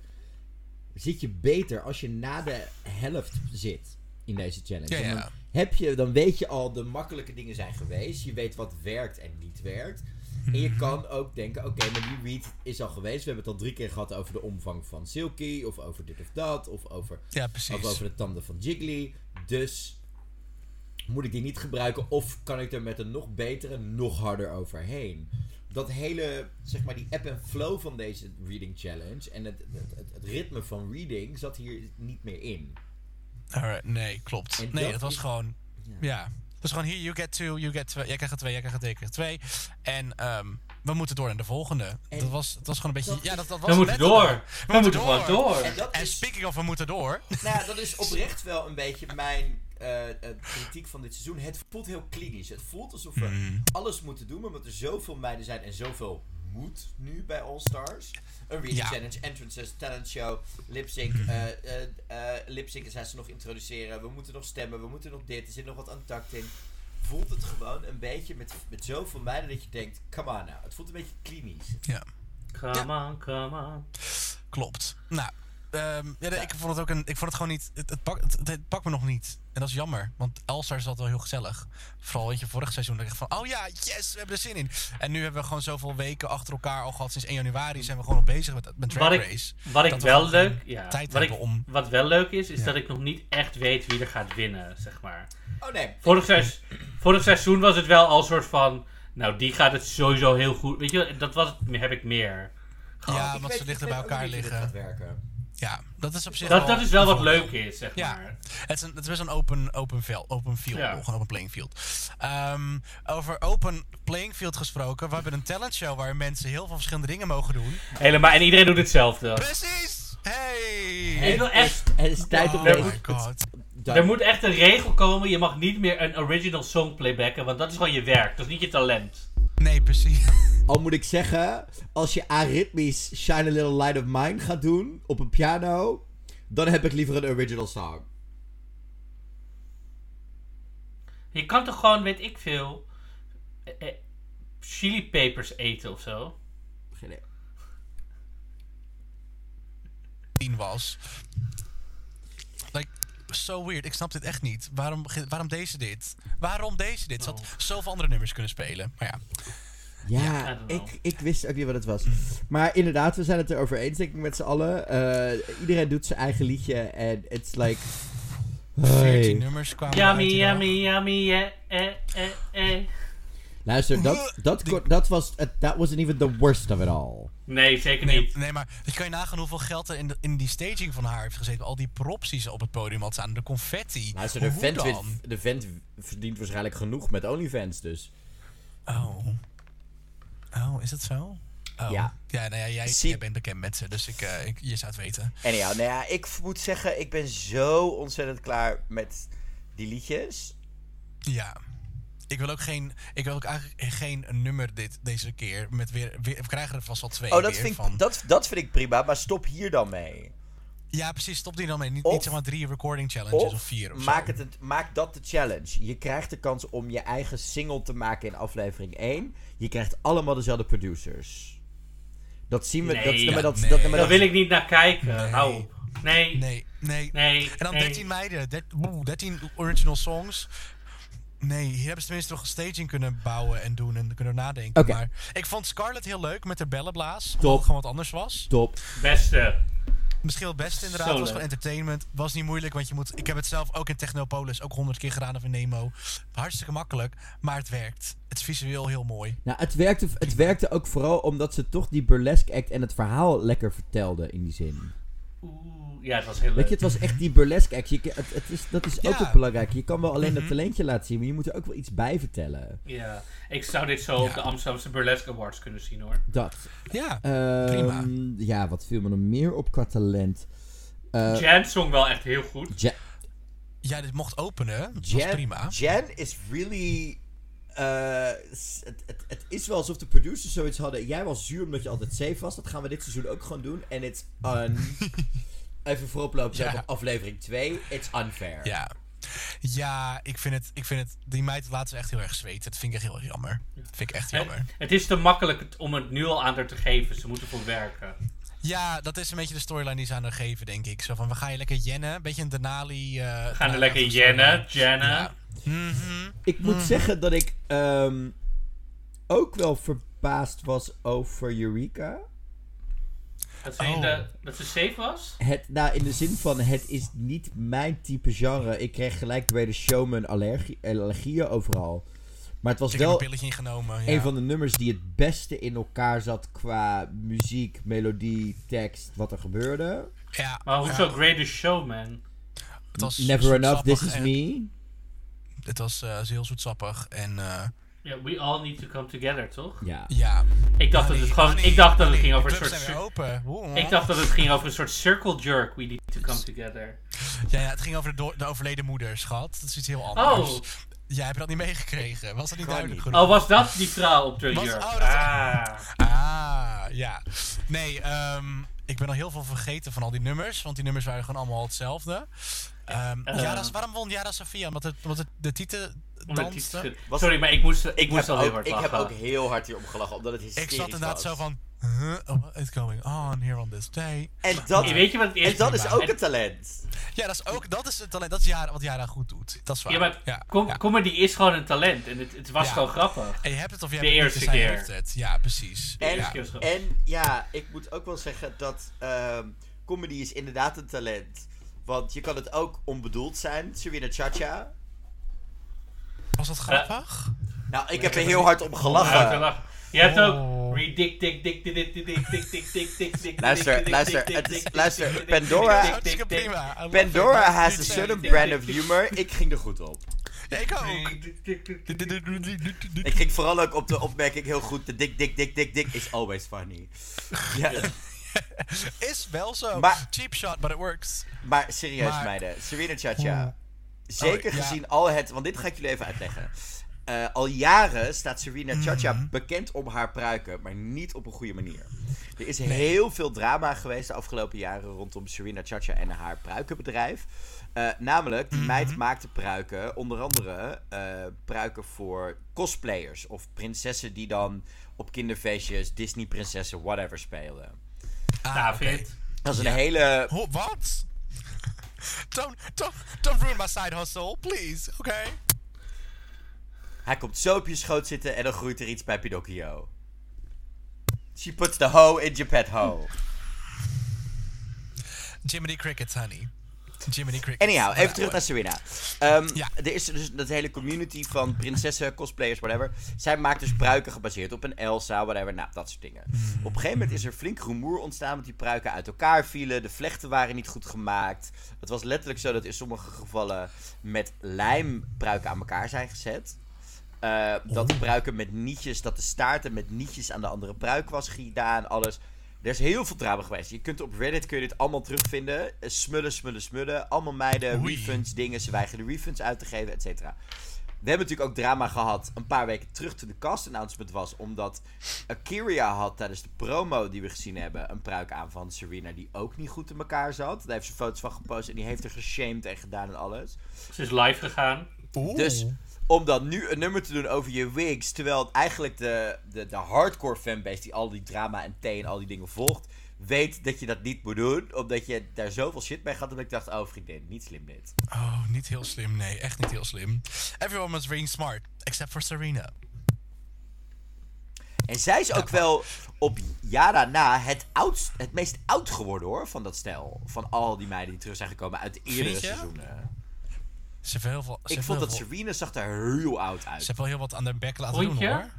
S1: zit je beter als je na de helft zit in deze challenge.
S3: Ja,
S1: En
S3: ja.
S1: Dan, heb je, dan weet je al de makkelijke dingen zijn geweest. Je weet wat werkt en niet werkt. En
S3: Mhm.
S1: je kan ook denken, oké, maar die read is al geweest. We hebben het al drie keer gehad over de omvang van Silky, of over dit of dat, of over
S3: Ja, precies.
S1: of over de tanden van Jiggly. Dus moet ik die niet gebruiken of kan ik er met een nog betere, nog harder overheen? Dat hele, zeg maar, die app en flow van deze reading challenge en het, het, het, het ritme van reading zat hier niet meer in.
S3: Alright, nee, klopt.
S1: En
S3: nee,
S1: dat
S3: dat was
S1: is-
S3: gewoon. Ja. Dat is gewoon hier, you get two, you get twee. Jij krijgt er twee, jij krijgt er twee, jij krijgt er twee. En ehm, we moeten door naar de volgende.
S1: En
S3: dat, was, dat was gewoon een beetje.
S1: dat
S3: ja,
S1: is-
S3: dat, dat was
S2: We moeten
S3: letterlijk.
S2: door. We moeten gewoon door.
S1: En dat
S3: En
S1: is,
S3: speaking of, we moeten door.
S1: nou ja, dat is oprecht wel een beetje mijn eh, eh, kritiek van dit seizoen. Het voelt heel klinisch. Het voelt alsof we
S3: Mm.
S1: alles moeten doen, maar omdat er zoveel meiden zijn en zoveel moet nu bij All Stars. Een reading
S3: Ja. Mm-hmm.
S1: challenge, entrances, talent show, lip sync. eh eh eh, lip sync zijn ze nog introduceren. We moeten nog stemmen, we moeten nog dit. Er zit nog wat untucked in. Voelt het gewoon een beetje met, met zoveel meiden dat je denkt, come on nou. Het voelt een beetje klinisch.
S3: Ja,
S2: Come on, come on.
S3: klopt. Nou, ehm, ja,
S1: Ja.
S3: Ik vond het ook een. Ik vond het gewoon niet. Het, het, pak, het, het pakt me nog niet. En dat is jammer. Want All-Stars was wel heel gezellig. Vooral weet je, vorig seizoen dacht ik van. Oh ja, yes, we hebben er zin in. En nu hebben we gewoon zoveel weken achter elkaar al gehad. Sinds 1 januari zijn we gewoon nog bezig met, met Drag
S2: Wat ik-
S3: Race.
S2: Wat ik
S3: Dat we
S2: wel
S3: gewoon geen
S2: leuk, ja,
S3: tijd
S2: wat, ik,
S3: hebben om-
S2: wat wel leuk is, is
S3: Ja.
S2: dat ik nog niet echt weet wie er gaat winnen, zeg maar.
S1: Oh nee.
S2: Vorig, seiz- vorig seizoen was het wel al soort van, nou die gaat het sowieso heel goed. Weet je, wel, dat was, heb ik meer.
S3: Ja,
S1: Ik
S3: omdat
S1: weet-
S3: ze
S1: ik
S3: dichter
S1: weet
S3: bij
S1: ook niet
S3: elkaar
S1: hoe dit gaat
S3: liggen.
S1: werken.
S3: Ja, dat is op zich.
S2: Dat, dat is wel wat
S3: leuk.
S2: leuk is, zeg
S3: Ja.
S2: maar.
S3: Het is, een, het is best een open, open, vel- open field,
S2: Ja.
S3: gewoon open playing field. Ehm, over open playing field gesproken, we hebben een talentshow waar mensen heel veel verschillende dingen mogen doen.
S2: Helemaal, en iedereen doet hetzelfde.
S3: Precies! Hey!
S2: Ik wil echt,
S5: Het is tijd
S3: oh
S5: om
S3: my god.
S5: Dan-
S2: er moet echt een regel komen, je mag niet meer een original song playbacken, want dat is gewoon je werk, dat is niet je talent.
S3: Nee, precies.
S5: Al moet ik zeggen, als je aritmisch Shine a Little Light of Mine gaat doen op een piano, dan heb ik liever een original song.
S2: Je kan toch gewoon, weet ik veel, eh, eh, chili peppers eten of zo?
S5: Geen idee.
S3: Tien was. Like, so weird. Ik snap dit echt niet. Waarom, ge- waarom deze dit? Waarom deze dit? Ze
S2: Oh.
S3: had zoveel andere nummers kunnen spelen. Maar ja.
S5: Ja,
S2: I don't know.
S5: ik, ik wist ook niet wat het was. Maar inderdaad, we zijn het erover eens, denk ik, met z'n allen. Eh, iedereen doet zijn eigen liedje en it's like... Hey.
S3: 14 nummers kwamen uit
S2: Yummy,
S3: die dag.
S2: yummy, yummy, eh, eh, eh, eh.
S5: Luister, dat, dat,
S3: Die-
S5: kon- dat was... het- that wasn't even the worst of it all.
S2: Nee, zeker
S3: Nee,
S2: niet.
S3: nee, maar je kan je nagaan hoeveel geld er in, de- in die staging van haar heeft gezeten. Al die props die ze op het podium had staan. De confetti.
S5: Luister,
S3: Hoe
S5: de vent,
S3: dan?
S5: wint- de vent verdient waarschijnlijk genoeg met OnlyFans, dus...
S3: Oh. Oh, is dat zo? Oh.
S1: Ja.
S3: Ja, nou ja, jij,
S1: Zie-
S3: jij bent bekend met ze, dus ik, eh, ik, je zou het weten.
S1: Anyhow, nou ja, ik moet zeggen, ik ben zo ontzettend klaar met die liedjes.
S3: Ja. Ik wil ook geen, ik wil ook eigenlijk geen nummer dit, deze keer. Met weer, weer, we krijgen er vast wel twee
S1: Oh, dat
S3: weer
S1: vind,
S3: van.
S1: ik, dat, dat vind ik prima, maar stop hier dan mee.
S3: Ja, precies. Stop die dan mee. Niet,
S1: Of-
S3: niet zeg maar drie recording challenges of,
S1: Of,
S3: vier of zo.
S1: maak, het, het- maak dat de challenge. Je krijgt de kans om je eigen single te maken in aflevering 1. Je krijgt allemaal dezelfde producers. Dat zien we.
S2: Nee,
S1: dat, nee, maar dat,
S3: nee.
S1: dat, nee, maar
S2: Daar
S1: dat,
S2: wil ik niet naar kijken.
S3: Nee.
S2: Hou op. Nee, nee,
S3: Nee, nee.
S2: nee.
S3: En dan 13 meiden, dert- boe, 13 original songs. Nee, hier hebben ze tenminste nog een staging kunnen bouwen en doen en kunnen nadenken.
S5: Oké.
S3: Maar ik vond Scarlett heel leuk met haar bellenblaas. Omdat
S5: Top.
S3: het gewoon wat anders was.
S5: Top.
S2: Beste.
S3: Misschien wel het beste inderdaad.
S2: Zo
S3: was
S2: leuk.
S3: gewoon entertainment. Was niet moeilijk, want je moet... Ik heb het zelf ook in Technopolis ook honderd keer gedaan of in Nemo. Hartstikke makkelijk, maar het werkt. Het is visueel heel mooi.
S5: Nou, het werkte, het werkte ook vooral omdat ze toch die burlesque act en het verhaal lekker vertelden in die zin.
S2: Oeh, ja, het was heel
S5: Weet je,
S2: leuk.
S5: het was echt die burlesque act. Je, het, het is, dat is ook
S3: Ja. Mhm.
S5: het belangrijke. Je kan wel alleen dat talentje laten zien, maar je moet er ook wel iets bij vertellen.
S2: Ja. Ik zou dit zo op de Amsterdamse Burlesque Awards kunnen zien hoor.
S5: Dat.
S3: Ja.
S5: Ehm,
S3: Prima.
S5: Ja, wat viel me nog meer op qua talent? Eh,
S2: Jan zong wel echt heel goed.
S5: Ja-
S3: Ja, dit mocht openen. Dat was
S1: Jan,
S3: prima.
S1: Jan is really. eh, s- het, het, het is wel alsof de producers zoiets hadden. Jij was zuur omdat je altijd safe was. Dat gaan we dit seizoen ook gewoon doen. En it's un. Even vooroplopen
S3: Ja.
S1: zo op aflevering 2. It's unfair.
S3: Ja. Ja, ik vind het... Ik vind het die meid laat ze echt heel erg zweten. Dat vind ik echt heel erg jammer. Dat vind ik echt jammer.
S2: Het, het is te makkelijk het- om het nu al aan haar te geven. Ze moeten voor werken.
S3: Ja, dat is een beetje de storyline die ze aan haar geven, denk ik. Zo van, we gaan je lekker jennen. Een beetje een Denali... eh
S2: Gaan
S3: Denali
S2: er lekker
S3: storyline.
S2: jennen, jennen.
S3: Ja. Mhm.
S5: Ik moet zeggen dat ik ehm, ook wel verbaasd was over Eureka.
S2: Dat, ze in
S3: Oh.
S2: de, dat ze safe was?
S5: Het, nou, in de zin van, het is niet mijn type genre. Ik kreeg gelijk bij de showman allergie, allergieën overal. Maar het was
S3: Ik heb een
S5: wel
S3: pilletje ingenomen. Ja.
S5: een van de nummers die het beste in elkaar zat qua muziek, melodie, tekst, wat er gebeurde.
S3: ja.
S2: Maar hoezo
S3: Ja,
S2: Greatest Showman?
S3: het was
S5: Never Enough,
S3: zoetsappig
S5: This Is
S3: en-
S5: Me.
S3: Het was eh, heel zoetsappig en eh,
S2: Ja, we all need to come together, toch?
S5: Ja.
S3: ja.
S2: Ik dacht dat het gewoon... Ik dacht dat het ging over een soort...
S3: Zijn weer
S2: cir-
S3: open. Oeh,
S2: Ik dacht dat het ging over een soort circle jerk. We need to come together.
S3: Ja, ja, het ging over de, do- de overleden moeder, schat. Dat is iets heel anders.
S2: Oh.
S3: Jij hebt dat niet meegekregen. Was dat niet duidelijk
S1: niet.
S3: genoeg?
S2: Oh, was dat die vrouw op de
S3: Was-
S2: jurk?
S3: oh, dat-
S2: ah.
S3: Ah, ja. Nee, ehm, ik ben al heel veel vergeten van al die nummers. Want die nummers waren gewoon allemaal hetzelfde. Ehm
S2: Eh.
S3: Yara- waarom won Yara Sofia? Omdat, het, omdat het de titel
S2: Omdat die
S3: danste?
S2: Sorry, maar ik moest, ik moest
S1: heb
S2: al heel
S1: ook,
S2: hard
S1: ik heb
S2: lachen.
S1: ook heel hard hierop gelachen, omdat het hysterisch
S3: Ik zat inderdaad
S1: was.
S3: zo van... Huh? Oh, what is going on here on this day?
S1: En dat,
S2: Weet je wat het
S1: en
S2: is?
S1: dat is ook
S2: En-
S1: een talent.
S3: Ja, dat is ook dat is het talent. Dat is Yara- wat Jara goed doet. Dat is waar.
S2: Ja, maar
S3: ja,
S2: com-
S3: ja.
S2: comedy is gewoon een talent. En het, het was
S3: Ja.
S2: gewoon grappig.
S3: En je hebt het of je
S2: De
S3: hebt het niet,
S2: eerste
S3: dus hij
S2: keer.
S3: heeft het. Ja, precies.
S1: En,
S3: ja.
S2: keer is grappig.
S1: en ja, ik moet ook wel zeggen dat ehm, comedy is inderdaad een talent. Want je kan het ook onbedoeld zijn. Serena Chacha.
S3: Was dat grappig?
S1: Nou, ik heb er heel hard om gelachen.
S2: Ja, ik lach. Je hebt ook...
S3: Oh.
S2: Ridic, dik, dik, dik, dik, dik, dik, dik, dik, dik, dik, dik,
S1: Luister,
S2: dik, dik,
S1: luister,
S2: dik,
S1: het
S2: dik,
S1: is-
S2: dik,
S1: luister,
S2: dik, dik,
S1: Pandora-
S2: dik, dik, dik,
S3: Hartstikke
S2: dik,
S3: prima. I love
S1: Pandora
S3: it.
S1: has a
S3: Niet
S1: certain
S3: leuk.
S1: brand of humor. Ik ging er goed op.
S3: Ja, ik ook.
S2: dik, dik, dik, dik.
S1: Ik ging vooral ook op de opmerking heel goed. De dik, dik, dik, dik, dik is always funny. Ja,
S3: Is wel zo.
S1: Maar-
S3: Cheap shot, but it works.
S1: maar serieus
S3: Maar-
S1: meiden, Serena Chacha. Zeker
S3: Oh, ja.
S1: gezien al het... Want dit ga ik jullie even uitleggen. Eh, al jaren staat Serena Chacha
S3: Mhm.
S1: bekend om haar pruiken, maar niet op een goede manier. Er is heel veel drama geweest de afgelopen jaren rondom Serena Chacha en haar pruikenbedrijf. Eh, namelijk, die
S3: Mhm.
S1: meid maakte pruiken, onder andere eh, pruiken voor cosplayers of prinsessen die dan op kinderfeestjes Disney-prinsessen, whatever spelen.
S3: Ah, oké.
S2: David.
S1: Dat is een hele.
S3: Ho- Wat? don't, don't, don't ruin my side hustle, please. Oké.
S1: Hij komt zo op je schoot zitten en dan groeit er iets bij Pinocchio. She puts the hoe in Geppetto. hoe.
S3: Jiminy Crickets, honey. Jiminy Crickets.
S1: Anyhow, even terug naar Serena. Ehm,
S3: Ja.
S1: Er is dus dat hele community van prinsessen, cosplayers, whatever. Zij maakt dus pruiken gebaseerd op een Elsa, whatever. Nou, dat soort dingen. Op een gegeven moment is er flink rumoer ontstaan, want die pruiken uit elkaar vielen. De vlechten waren niet goed gemaakt. Het was letterlijk zo dat in sommige gevallen met lijm pruiken aan elkaar zijn gezet. Eh, dat de pruiken met nietjes, dat de staarten met nietjes aan de andere pruik was gedaan, alles. Er is heel veel drama geweest. Je kunt op Reddit kun je dit allemaal terugvinden. Eh, Smullen, smullen, smullen. Allemaal meiden,
S3: Oei.
S1: refunds, dingen. Ze weigeren refunds uit te geven, et cetera. We hebben natuurlijk ook drama gehad een paar weken terug toen de cast announcement was. Omdat Akiria had tijdens de promo die we gezien hebben een pruik aan van Serena die ook niet goed in elkaar zat. Daar heeft ze foto's van gepost en die heeft er geshamed en gedaan en alles.
S2: Ze is live gegaan.
S3: Oeh.
S1: Dus om dan nu een nummer te doen over je wigs, terwijl het eigenlijk de, de, de hardcore fanbase die al die drama en thee en al die dingen volgt, weet dat je dat niet moet doen, omdat je daar zoveel shit mee gaat. Dat ik dacht, oh vriendin, niet slim dit.
S3: Oh, niet heel slim. Nee, echt niet heel slim. Everyone was being smart, except for Serena.
S1: En zij is ook wel op jaren na het, oudst, het meest oud geworden hoor, van dat stel. Van al die meiden die terug zijn gekomen uit de eerdere
S3: Vind je?
S1: seizoenen.
S3: Ze heeft heel veel... Ze
S1: Ik
S3: heeft
S1: vond
S3: heel
S1: dat
S3: veel-
S1: Serena zag er heel oud
S3: Ze
S1: uit.
S3: heeft wel heel wat aan haar bek laten
S2: Vond je?
S3: doen,
S1: Eh,
S3: hoor.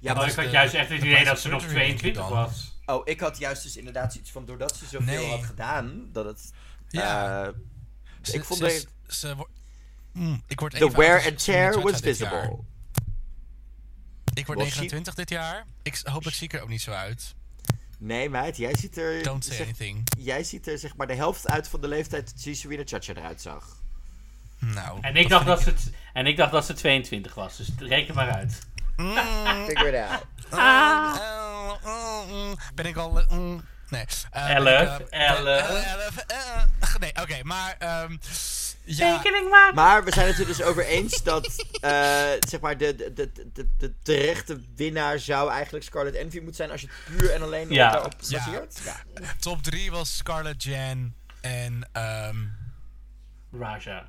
S1: Ja,
S2: Oh,
S1: maar
S2: ik had
S3: de-
S2: juist echt het
S3: de
S2: idee
S3: prijs
S2: dat
S3: is
S2: ze nog
S3: surgery, denk ik
S2: 22
S3: dan.
S2: was.
S1: Oh, ik had juist dus inderdaad iets van doordat ze zoveel
S3: Nee.
S1: had gedaan, dat het...
S3: Ja.
S1: eh,
S3: Ze-
S1: ik vond
S3: ze-
S1: dat-
S3: ze wo- Mm, ik word
S1: The
S3: even
S1: wear
S3: oud als
S1: and
S3: Serena
S1: tear
S3: Chacha
S1: was
S3: dit jaar.
S1: visible.
S3: Ik word
S1: Was she-
S3: 29 dit jaar. Ik s- hopelijk zie ik er ook niet zo uit.
S1: Nee, meid, jij ziet er.
S3: Don't say
S1: zeg-
S3: anything.
S1: jij ziet er zeg maar de helft uit van de leeftijd die Serena Chacha eruit zag.
S3: Nou.
S2: En ik, dacht dat ze, t- en ik dacht dat ze 22 was, dus reken maar uit.
S1: Figure it out.
S2: Ah.
S3: Eh, mm, mm, ben ik al... eh, mm, nee. Eh,
S2: Elf,
S3: ben ik, eh,
S2: elf.
S3: ben- elf, eh, nee, oké, maar... ehm, ja,
S2: Rekening maken!
S1: Maar we zijn het er dus over eens dat eh, zeg maar de, de, de, de, de terechte winnaar zou eigenlijk Scarlett Envy moeten zijn als je het puur en alleen
S2: Ja.
S1: daarop
S3: Ja.
S1: baseert. Ja.
S3: top 3 was Scarlett Jan en... ehm
S2: Raja.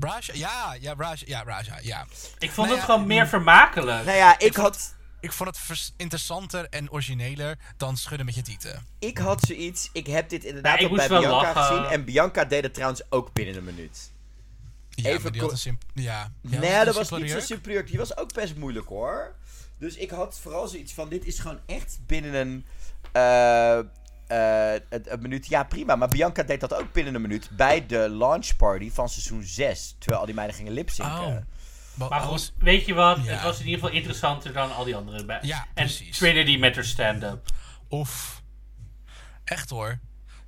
S3: Raja? Ja, ja, Raja. Ja, Raja, ja.
S2: Ik vond
S3: Nou
S2: het
S3: ja,
S2: gewoon meer vermakelijk.
S1: Nou ja, ik had,
S3: Ik vond het vers- interessanter en origineler dan schudden met je tieten.
S1: ik had zoiets. Ik heb dit inderdaad
S2: Maar ik
S1: ook bij
S2: moest wel
S1: Bianca
S2: lachen.
S1: gezien. En Bianca deed het trouwens ook binnen een minuut.
S3: Ja,
S1: Even
S3: maar die
S1: ko-
S3: had een simp... Ja. ja,
S1: nee,
S3: een
S1: dat was
S3: simpele
S1: niet zo
S3: jurk.
S1: superieur. Die was ook best moeilijk hoor. Dus ik had vooral zoiets van: dit is gewoon echt binnen een, eh, eh, een, een minuut. Ja, prima. Maar Bianca deed dat ook binnen een minuut bij de launch party van seizoen 6. Terwijl al die meiden gingen lipzinken.
S3: Oh. Wa-
S2: Maar
S3: was-
S2: goed, weet je wat?
S3: Ja.
S2: Het was in ieder geval interessanter dan al die andere bij.
S3: Ja,
S2: en
S3: precies.
S2: Trinity met haar stand-up.
S3: Of. oh, Echt hoor.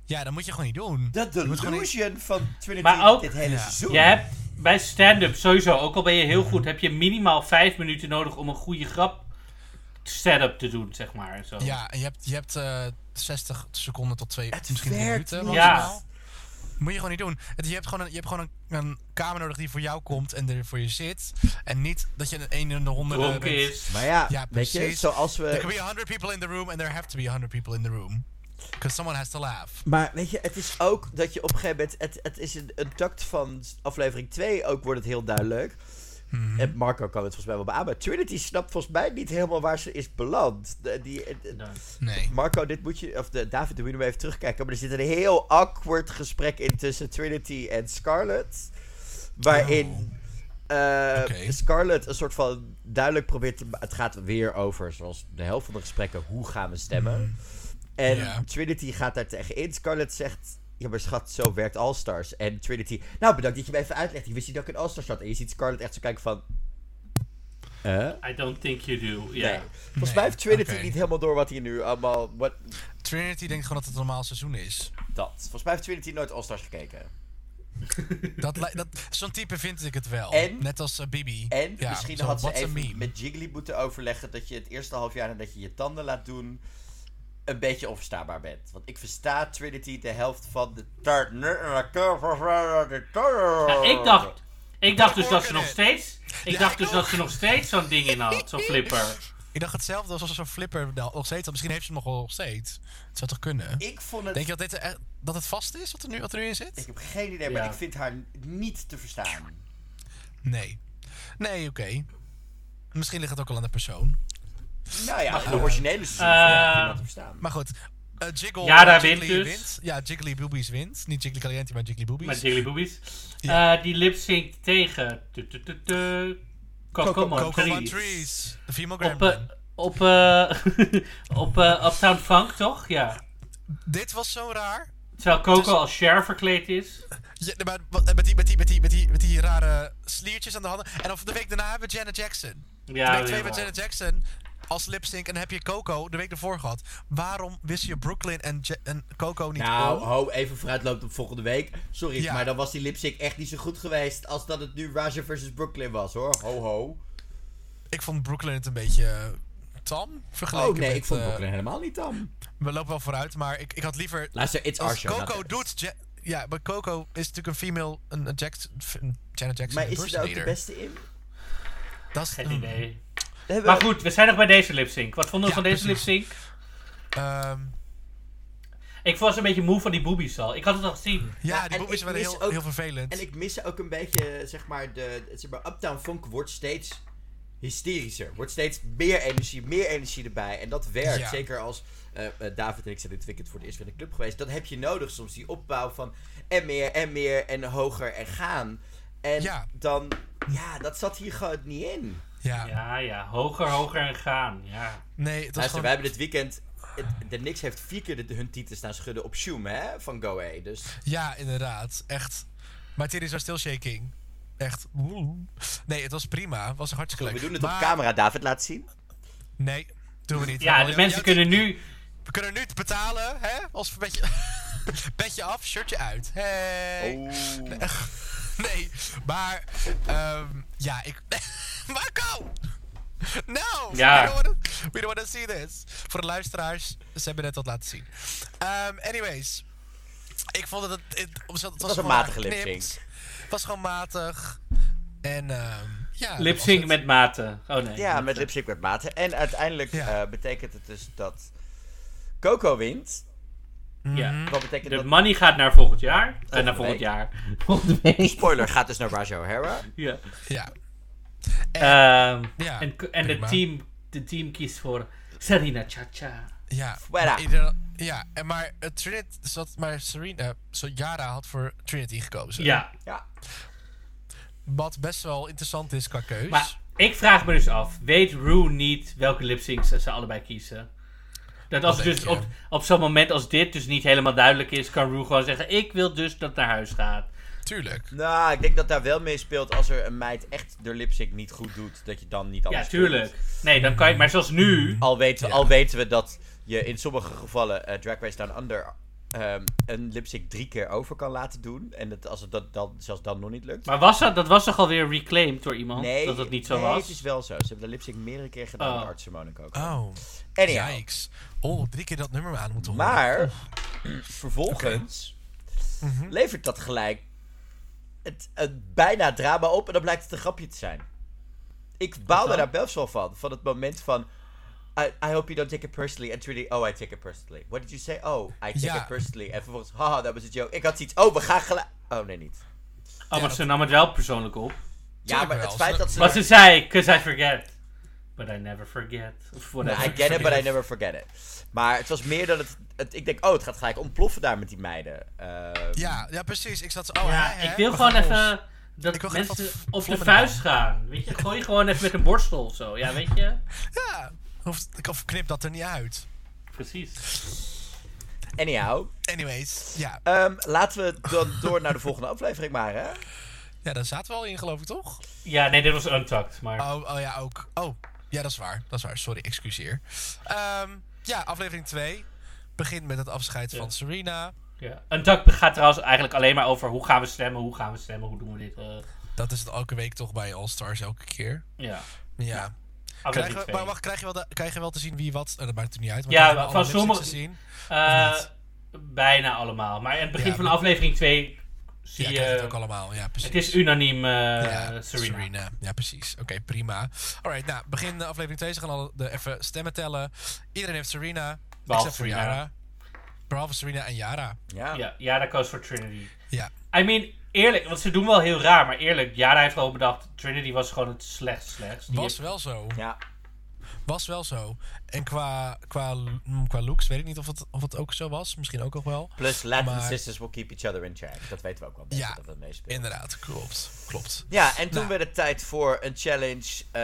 S3: Ja, dat moet je gewoon niet doen.
S1: Dat
S3: Je moet gewoon niet-
S1: delusion van Trinity
S2: Maar ook-
S1: dit hele
S3: Ja.
S1: seizoen.
S2: Je hebt bij stand-up sowieso, ook al ben je heel goed, heb je minimaal vijf minuten nodig om een goede grap stand-up te doen, zeg maar. en Zo.
S1: Oh.
S3: Ja, en je hebt, je hebt eh, 60 seconden tot twee,
S1: Het
S3: misschien drie
S1: werkt
S3: minuten.
S1: niet.
S3: maximaal.
S2: Ja.
S3: Moet je gewoon niet doen. Het- Je hebt gewoon, een, je hebt gewoon een, een kamer nodig die voor jou komt en er voor je zit. En niet dat je een een in de honderden
S2: Dronken
S3: bent.
S2: is.
S1: Maar ja,
S3: Ja,
S1: weet je,
S3: precies.
S1: zoals
S3: There can
S1: we...
S3: be 100 people in the room and there have to be 100 people in the room. Because someone has to laugh.
S1: Maar weet je, het is ook dat je op een gegeven moment... Het, het is een, een tact van aflevering 2 ook wordt het heel duidelijk. En Marco kan het volgens mij wel beamen. Trinity snapt volgens mij niet helemaal waar ze is beland. De- die, de-
S2: Nee.
S3: Nee.
S1: Marco, dit moet je... Of de, David, doe je nog even terugkijken. Maar er zit een heel awkward gesprek in tussen Trinity en Scarlett. Waarin...
S3: Oh.
S1: eh,
S3: Oké.
S1: Scarlett een soort van duidelijk probeert te... Het gaat weer over, zoals de helft van de gesprekken, hoe gaan we stemmen. En
S3: Mhm. Ja.
S1: Trinity gaat daar tegenin. Scarlett zegt... Ja, maar schat, zo werkt All-Stars. En Trinity... Nou, bedankt dat je me even uitlegt. Ik wist niet dat ik in All-Stars zat. En je ziet Scarlett echt zo kijken van... Eh?
S2: I don't think you do. Ja.
S1: Nee. Volgens
S3: Nee,
S1: mij heeft Trinity
S3: oké.
S1: niet helemaal door wat hier nu allemaal... Wat,
S3: Trinity denkt gewoon dat het een normaal seizoen is.
S1: dat. Volgens mij heeft Trinity nooit All-Stars gekeken.
S3: Dat, li- dat, zo'n type vind ik het wel.
S1: En-
S3: Net als eh, Bibi.
S1: En
S3: Ja,
S1: misschien
S3: zo,
S1: had ze
S3: what's a
S1: even
S3: meme?
S1: met Jiggly moeten overleggen... dat je het eerste half jaar nadat je je tanden laat doen... een beetje onverstaanbaar bent. Want ik versta Trinity de helft van de... taart.
S2: Ja, ik
S1: Oh.
S2: dacht, ik dacht dus dat ze nog
S3: Ja,
S2: steeds, ik dacht dus
S3: ik
S2: dat ze nog steeds zo'n ding in had, zo'n flipper.
S3: Ik dacht hetzelfde als als zo'n flipper nou, nog steeds. had. Misschien heeft ze hem nog wel nog steeds. Het zou toch kunnen?
S1: Ik vond het...
S3: Denk je dat, dit echt, dat het vast is wat er nu, wat er nu in zit?
S1: Ik heb geen idee, maar
S2: Ja.
S1: ik vind haar niet te verstaan.
S3: Nee. Nee, oké. Misschien ligt het ook al aan de persoon.
S1: Nou ja, de originele seizoen
S2: Eh.
S1: vind ik haar niet te verstaan.
S3: Maar goed. eh, Jiggle,
S2: Ja, daar
S3: Jiggly
S2: wint dus.
S3: Ja, Jiggly Boobies wint. Niet Jiggly Caliente, maar Jiggly Boobies.
S2: Met Jiggly Boobies.
S3: Ja.
S2: Eh, die lip sync tegen tu- tu- tu- tu- Kokomo
S3: Coco
S2: Trees.
S3: Trees. De Female
S2: Op, eh,
S3: Gremlin.
S2: op, eh, op eh, Uptown Funk, toch? Ja.
S3: Dit was zo raar.
S2: Terwijl
S3: Dus-
S2: Coco als Cher verkleed is.
S3: Ja, maar wat- met, die, met, die, met, die, met, die, met die rare sliertjes aan de handen. En of de week daarna hebben we Janet Jackson.
S2: Ja,
S3: de week twee
S2: weer
S3: met
S2: waar.
S3: Janet Jackson als lipsync. En dan heb je Coco de week ervoor gehad. Waarom wist je Brooklyn en, Ja- en Coco niet
S1: Nou,
S3: om?
S1: ho, even vooruitloopt op volgende week. Sorry,
S3: Ja.
S1: maar dan was die lipstick echt niet zo goed geweest als dat het nu Raja versus Brooklyn was, hoor. Ho, ho.
S3: Ik vond Brooklyn het een beetje eh, tam vergeleken
S1: Oh nee,
S3: met,
S1: ik vond
S3: eh,
S1: Brooklyn helemaal niet tam.
S3: we lopen wel vooruit, maar ik, ik had liever...
S1: Luister, it's our
S3: Als
S1: show. not
S3: Coco
S1: theirs.
S3: doet... Ja- ja, maar Coco is natuurlijk een female... Een, een Jackson, een Janet Jackson
S1: Maar is ze daar ook de
S3: impersonator.
S1: beste in?
S3: Dat is
S2: Geen idee.
S1: We hebben-
S2: Maar goed, we zijn nog bij deze lip sync. Wat vonden we
S3: Ja,
S2: van deze lip
S3: precies.
S2: sync?
S3: ehm,
S2: Ik was een beetje moe van die boobies al. Ik had het al gezien.
S3: ja,
S1: en
S3: die
S1: ik
S3: boekjes waren
S1: mis
S3: heel,
S1: ook-
S3: heel vervelend.
S1: En ik mis ook een beetje, zeg maar, de, zeg maar, Uptown Funk wordt steeds hysterischer. Wordt steeds meer energie, meer energie erbij. En dat werkt.
S3: Ja.
S1: Zeker als eh, eh, David en ik zijn dit weekend voor het eerst weer in de club geweest. Dat heb je nodig soms, die opbouw van en meer en meer en hoger en gaan. En
S3: Ja.
S1: dan, ja, dat zat hier gewoon niet in.
S3: ja.
S2: Ja, ja. Hoger, hoger en gaan. Ja.
S3: Nee, het was
S1: Luister,
S3: gewoon...
S1: wij hebben dit weekend... het- de Nix heeft vier keer de, hun titel staan schudden op Shoom, hè? Van Go Away. Dus
S3: Ja, inderdaad. Echt. Maar dit is wel stilshaking. Echt. Nee, het was prima. Het was hartstikke leuk.
S1: we doen het
S3: Maar-
S1: op camera, David. Laat zien.
S3: Nee, doen we niet. Oh,
S2: Ja, de
S3: Wel, jou-
S2: mensen
S3: jou-
S2: kunnen nu
S3: We kunnen nu het betalen, hè? Als we beetje... Petje af, shirtje uit. Hey.
S1: Oeh.
S3: Nee, maar... ehm, ja, ik... Marco! No!
S2: Ja.
S3: We don't, wanna, we don't wanna see this. Voor de luisteraars, ze hebben net wat laten zien. Ehm, anyways. Ik vond dat het... Het, het was,
S1: was een
S3: gewoon
S1: matige
S3: geknipt.
S1: lip-sync.
S3: Het was gewoon matig. En ehm ja... dat
S2: lip
S3: was
S2: sync
S3: het.
S2: met maten. Oh nee.
S1: Ja, met lipstick met maten. En uiteindelijk
S3: Ja.
S1: eh, betekent het dus dat Coco wint.
S3: Hmm.
S2: Ja.
S1: Wat betekent
S2: De
S1: dat?
S2: money gaat naar volgend jaar. Eh, naar
S1: week.
S2: volgend jaar. Volgende week.
S1: Spoiler gaat dus naar Raja O'Hara.
S2: Ja.
S3: Ja.
S1: Eh,
S2: Ehm,
S3: Ja,
S2: en en de,
S3: prima.
S2: team, de team kiest voor Serena Chacha.
S3: Ja.
S1: Fuera.
S3: maar ieder- ja, en maar eh, Trinity zat, maar Serena, eh, zo Yara had voor Trinity gekozen.
S2: Ja,
S1: Ja.
S3: Wat best wel interessant is qua keus.
S2: maar ik vraag me dus af. Weet Rue niet welke lipsyncs ze allebei kiezen? Dat als
S3: Dat
S2: het
S3: denk
S2: dus
S3: ik,
S2: op,
S3: ja.
S2: op zo'n moment als dit dus niet helemaal duidelijk is, kan Rue gewoon zeggen: Ik wil dus dat het naar huis gaat.
S3: Tuurlijk.
S1: Nou, ik denk dat daar wel mee speelt als er een meid echt de lipstick niet goed doet. Dat je dan niet
S2: Ja,
S1: anders
S2: tuurlijk.
S1: kunt.
S2: Nee, dan kan je. Maar zoals nu.
S1: Al weten,
S3: Ja.
S1: al weten we dat je in sommige gevallen eh, Drag Race Down Under ehm, een lipstick drie keer over kan laten doen. En dat, als het dat dan, zelfs dan nog niet lukt.
S2: Maar was dat, dat was toch alweer reclaimed door iemand?
S1: nee,
S2: dat het niet zo
S1: nee,
S2: was?
S1: het is wel zo. Ze hebben de lipstick meerdere keer gedaan
S2: Oh.
S1: bij Artsen Monaco. ook.
S3: Oh,
S1: Anyhow.
S3: yikes. Oh, drie keer dat nummer aan moeten horen.
S1: Maar vervolgens
S3: Mhm.
S1: levert dat gelijk het, het bijna drama op en dan blijkt het een grapje te zijn. Ik baalde
S2: dan?
S1: daar best wel van, van het moment van... I, I hope you don't take it personally. And truly, oh, I take it personally. What did you say? Oh, I take
S3: Ja.
S1: it personally. En vervolgens, haha, dat was een joke. Ik had zoiets, oh, we gaan gelijk... Oh, nee, niet.
S2: Oh, maar
S3: dat-
S2: ze nam het wel persoonlijk op.
S1: Ja,
S3: Tuurlijk
S1: maar
S3: wel,
S1: het feit
S3: ze-
S1: dat ze...
S2: Maar ze zei, cause I forget. But I never forget. Of
S1: Nou,
S2: whatever.
S1: I get it, but I never forget it. Maar het was meer dat het... het- ik denk, oh, het gaat gelijk ontploffen daar met die meiden. Ehm,
S3: Ja, ja, precies. Ik zat zo. Oh,
S2: ja,
S3: hè, hè,
S2: ik wil
S3: we
S2: gewoon
S3: gaan los.
S2: even dat
S3: Ik wil gewoon
S2: mensen
S3: even wat
S2: op de
S3: vlammen
S2: vuist gaan. Weet je, gooi gewoon even met een borstel of zo. Ja, weet je?
S3: Ja, hoeft, ik of knip dat er niet uit.
S2: Precies.
S1: Anyhow,
S3: Anyways, ja.
S1: ehm, laten we dan door naar de volgende aflevering maar, hè?
S3: Ja, daar zaten we al in, geloof ik, toch?
S2: Ja, nee, dit was untucked, maar...
S3: Oh, oh ja, ook. Oh, ja, dat is waar. Dat is waar. Sorry, excuseer. Ehm, ja, aflevering 2 begint met het afscheid
S2: Ja.
S3: van Serena.
S2: Ja. Untucked gaat trouwens eigenlijk alleen maar over hoe gaan we stemmen, hoe gaan we stemmen, hoe doen we dit. eh,
S3: Dat is het elke week toch bij All Stars, elke keer.
S2: ja. Ah,
S3: Ja.
S2: Aflevering
S3: Krijgen we,
S2: twee.
S3: maar wacht, krijg je, wel de- krijg je wel te zien wie wat? Eh, dat maakt het niet uit. Maar
S2: Ja,
S3: krijgen we
S2: van
S3: alle lipsticks
S2: sommige-
S3: te zien?
S2: Eh,
S3: Of
S2: bijna allemaal. Maar aan het begin
S3: Ja,
S2: van
S3: maar-
S2: aflevering 2 zie
S3: Ja,
S2: je...
S3: krijg je het ook allemaal. Ja, precies.
S2: eh, het is unaniem eh,
S3: Ja,
S2: Serena.
S3: Ja, precies. Oké, prima. Alright, nou, begin de aflevering 2. Ze gaan al de, even stemmen tellen. Iedereen heeft Serena.
S2: Behalve
S3: except voor
S2: Serena.
S3: Yara. Behalve Serena en Yara.
S1: Ja.
S2: Ja, Yara koos voor Trinity.
S3: Ja,
S2: I mean, eerlijk, want ze doen wel heel raar, maar eerlijk, Yara heeft gewoon bedacht, Trinity was gewoon het slechtst slechts. Die
S3: was
S2: heeft-
S3: wel zo.
S1: Ja.
S3: Was wel zo. En qua, qua, mm, qua looks weet ik niet of het, of het ook zo was. Misschien ook nog wel.
S1: Plus, Latin
S3: Maar-
S1: sisters will keep each other in check. Dat weten we ook wel
S3: Ja,
S1: beter dat dat meespeelt.
S3: Inderdaad, klopt. Klopt.
S1: Ja, en toen
S3: Nou.
S1: werd het tijd voor een challenge. eh,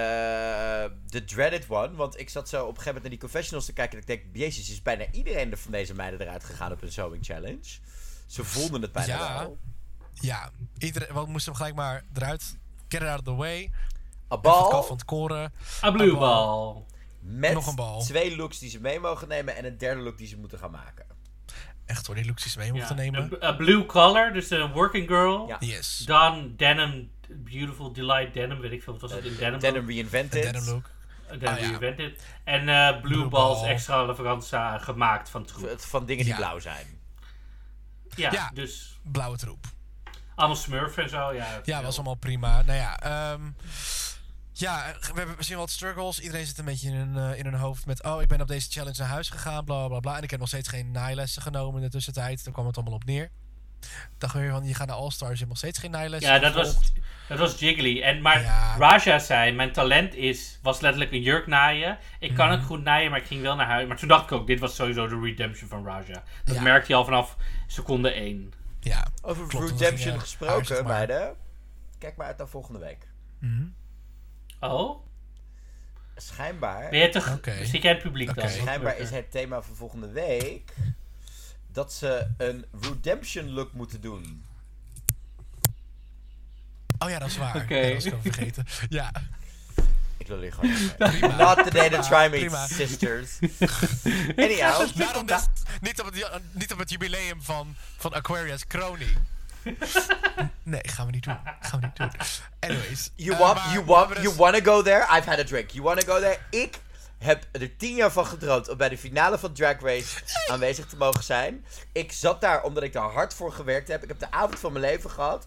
S1: De dreaded one. Want ik zat zo op een gegeven moment naar die confessionals te kijken. En ik denk, jezus, is bijna iedereen er van deze meiden eruit gegaan op een sewing challenge. Ze voelden het bijna
S3: Ja.
S1: wel.
S3: Ja, iedereen, we moesten hem gelijk maar eruit. Get it out of the way.
S1: Een
S3: Even het kaf
S1: bal
S3: van het koren.
S2: A blue ball.
S1: met
S3: nog een bal.
S1: twee looks die ze mee mogen nemen. En een derde look die ze moeten gaan maken.
S3: Echt hoor, die looks die ze mee mochten
S2: Ja,
S3: nemen.
S2: een- A blue collar, dus een working girl.
S1: Ja.
S3: Yes.
S2: Dan denim, beautiful delight denim, weet ik veel, wat was het? Een denim,
S1: Denim
S3: Een
S1: reinvented.
S3: denim look.
S2: Een denim
S3: Ah, ja.
S2: reinvented. En eh, blue,
S3: Blue
S2: balls
S3: ball.
S2: extra leveranza gemaakt van troep.
S1: Van dingen die
S3: Ja.
S1: blauw zijn.
S2: Ja,
S3: Ja.
S2: dus
S3: Blauwe troep.
S2: allemaal smurf en zo. Ja,
S3: Ja, was allemaal prima. Nou ja, ehm, ja, we hebben misschien wat struggles. Iedereen zit een beetje in hun, eh, in hun hoofd met... oh, ik ben op deze challenge naar huis gegaan, bla, bla, bla. En ik heb nog steeds geen naailessen genomen in de tussentijd. Daar kwam het allemaal op neer. Dacht weer van, je gaat naar All-Stars, je hebt nog steeds geen naailessen
S2: Ja, dat was,
S3: gevolgd.
S2: dat was Jiggly. En, maar
S3: Ja.
S2: Raja zei, mijn talent is, was letterlijk een jurk naaien. Ik
S3: Mhm.
S2: kan ook goed naaien, maar ik ging wel naar huis. Maar toen dacht ik ook, dit was sowieso de redemption van Raja. Dat
S3: Ja.
S2: merkte je al vanaf seconde 1.
S3: Ja,
S1: Over
S3: Klopt, want we
S1: Redemption
S3: gingen
S1: gesproken,
S3: aarzelen maar.
S1: meiden. Kijk maar uit naar volgende week.
S2: Oh? Ben
S1: Schijnbaar,
S2: je toch...
S3: Oké.
S2: Zit jij in het publiek
S3: Oké.
S2: dan?
S1: schijnbaar is het thema van volgende week dat ze een redemption look moeten doen.
S3: oh ja, dat is waar.
S2: Oké.
S3: Ja, dat was ik al vergeten. Ja,
S1: Ik wil hier gewoon. even-
S3: prima.
S1: Not the day to try me,
S3: Prima.
S1: sisters. Anyhow,
S3: Daarom dus niet op het, ja- niet op het jubileum van, van Aquarius Crony. Nee, gaan we niet doen. Gaan we niet doen. Anyways.
S1: you
S3: eh,
S1: want,
S3: maar
S1: you
S3: we hebben
S1: want,
S3: dus-
S1: you wanna go there? I've had a drink. You wanna go there? Ik heb er tien jaar van gedroomd om bij de finale van Drag Race aanwezig te mogen zijn. Ik zat daar omdat ik daar hard voor gewerkt heb. Ik heb de avond van mijn leven gehad.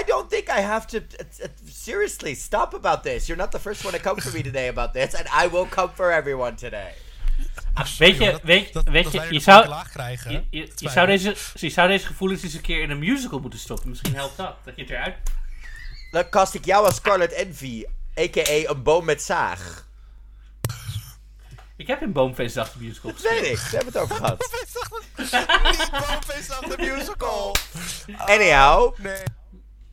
S1: I don't think I have to. it- it- seriously, stop about this. You're not the first one to come for me today about this, and I will come for everyone today.
S2: Weet
S3: Joh,
S2: je,
S3: dat-
S2: weet,
S3: dat-
S2: weet
S3: dat
S2: je,
S3: wij
S2: je
S3: de
S2: zou...
S3: klaag krijgen.
S2: Je, je-
S3: Dat is
S2: je
S3: waar.
S2: zou deze, je zou deze gevoelens eens een keer in een musical moeten stoppen. Misschien helpt dat. Dat je het eruit...
S1: Dan kast ik jou als Scarlet Envy, a.k.a. een boom met zaag.
S2: Ik heb in Boomfeestdag de musical
S1: Dat weet
S2: gespeeld.
S1: ik, we hebben het over gehad.
S3: Niet Boomfeest de musical.
S1: Anyhow,
S3: Nee.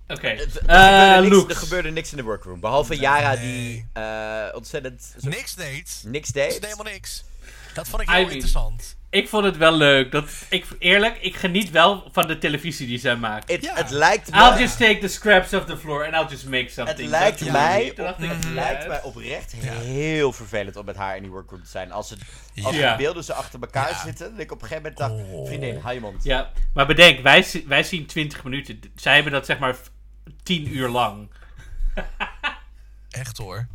S2: Oké.
S1: er, gebeurde
S2: Eh,
S1: niks, er
S2: looks.
S1: gebeurde niks in de workroom. Behalve Yara
S3: nee.
S1: die eh, ontzettend zo-
S3: Niks deed.
S1: niks
S3: Ze
S1: deed.
S3: deed helemaal niks. Dat vond ik heel
S2: I mean-
S3: interessant.
S2: Ik vond het wel leuk. Dat, ik, eerlijk, ik geniet wel van de televisie die zij maakt.
S1: Het,
S3: Ja.
S1: het lijkt
S2: I'll
S1: me,
S2: just take the scraps off the floor and I'll just make something.
S1: het lijkt
S2: Dat
S1: mij,
S2: doe ik niet. Dat dacht
S1: het
S2: ik,
S1: lijkt
S2: ja.
S1: mij oprecht heel vervelend om met haar in die workroom te zijn. Als, het, als
S2: Ja.
S1: de beelden zo achter elkaar
S3: Ja.
S1: zitten, dat ik op een gegeven moment dacht,
S3: Oh.
S1: vriendin, hou je mond.
S2: Ja, maar bedenk, wij, zi- wij zien 20 minuten. D- Zij hebben dat zeg maar 10 uur lang.
S3: Echt hoor.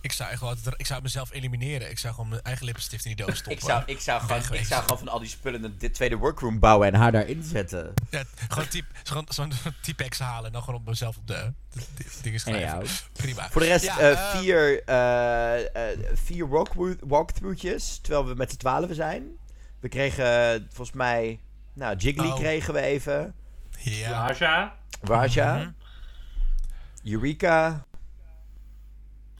S3: Ik Ik zou, echt gewoon, ik zou mezelf elimineren. Ik zou gewoon mijn eigen lippenstift in die doos stoppen.
S1: Ik zou, ik, zou
S3: Weg
S1: gewoon, ik
S3: geweest.
S1: zou gewoon van al die spullen een di- tweede workroom bouwen en haar daarin zetten.
S3: Ja, gewoon typ, gewoon, zo'n typex halen en dan gewoon op mezelf op de, de, de dingen schrijven.
S1: Anyhow.
S3: Prima.
S1: Voor de rest
S3: Ja,
S1: eh,
S3: ehm,
S1: vier, eh eh vier walkthrough- walkthroughjes, terwijl we met z'n twaalfen zijn. We kregen eh, volgens mij, nou Jiggly
S3: Oh.
S1: kregen we even,
S3: Ja.
S2: Raja.
S1: Raja, Eureka.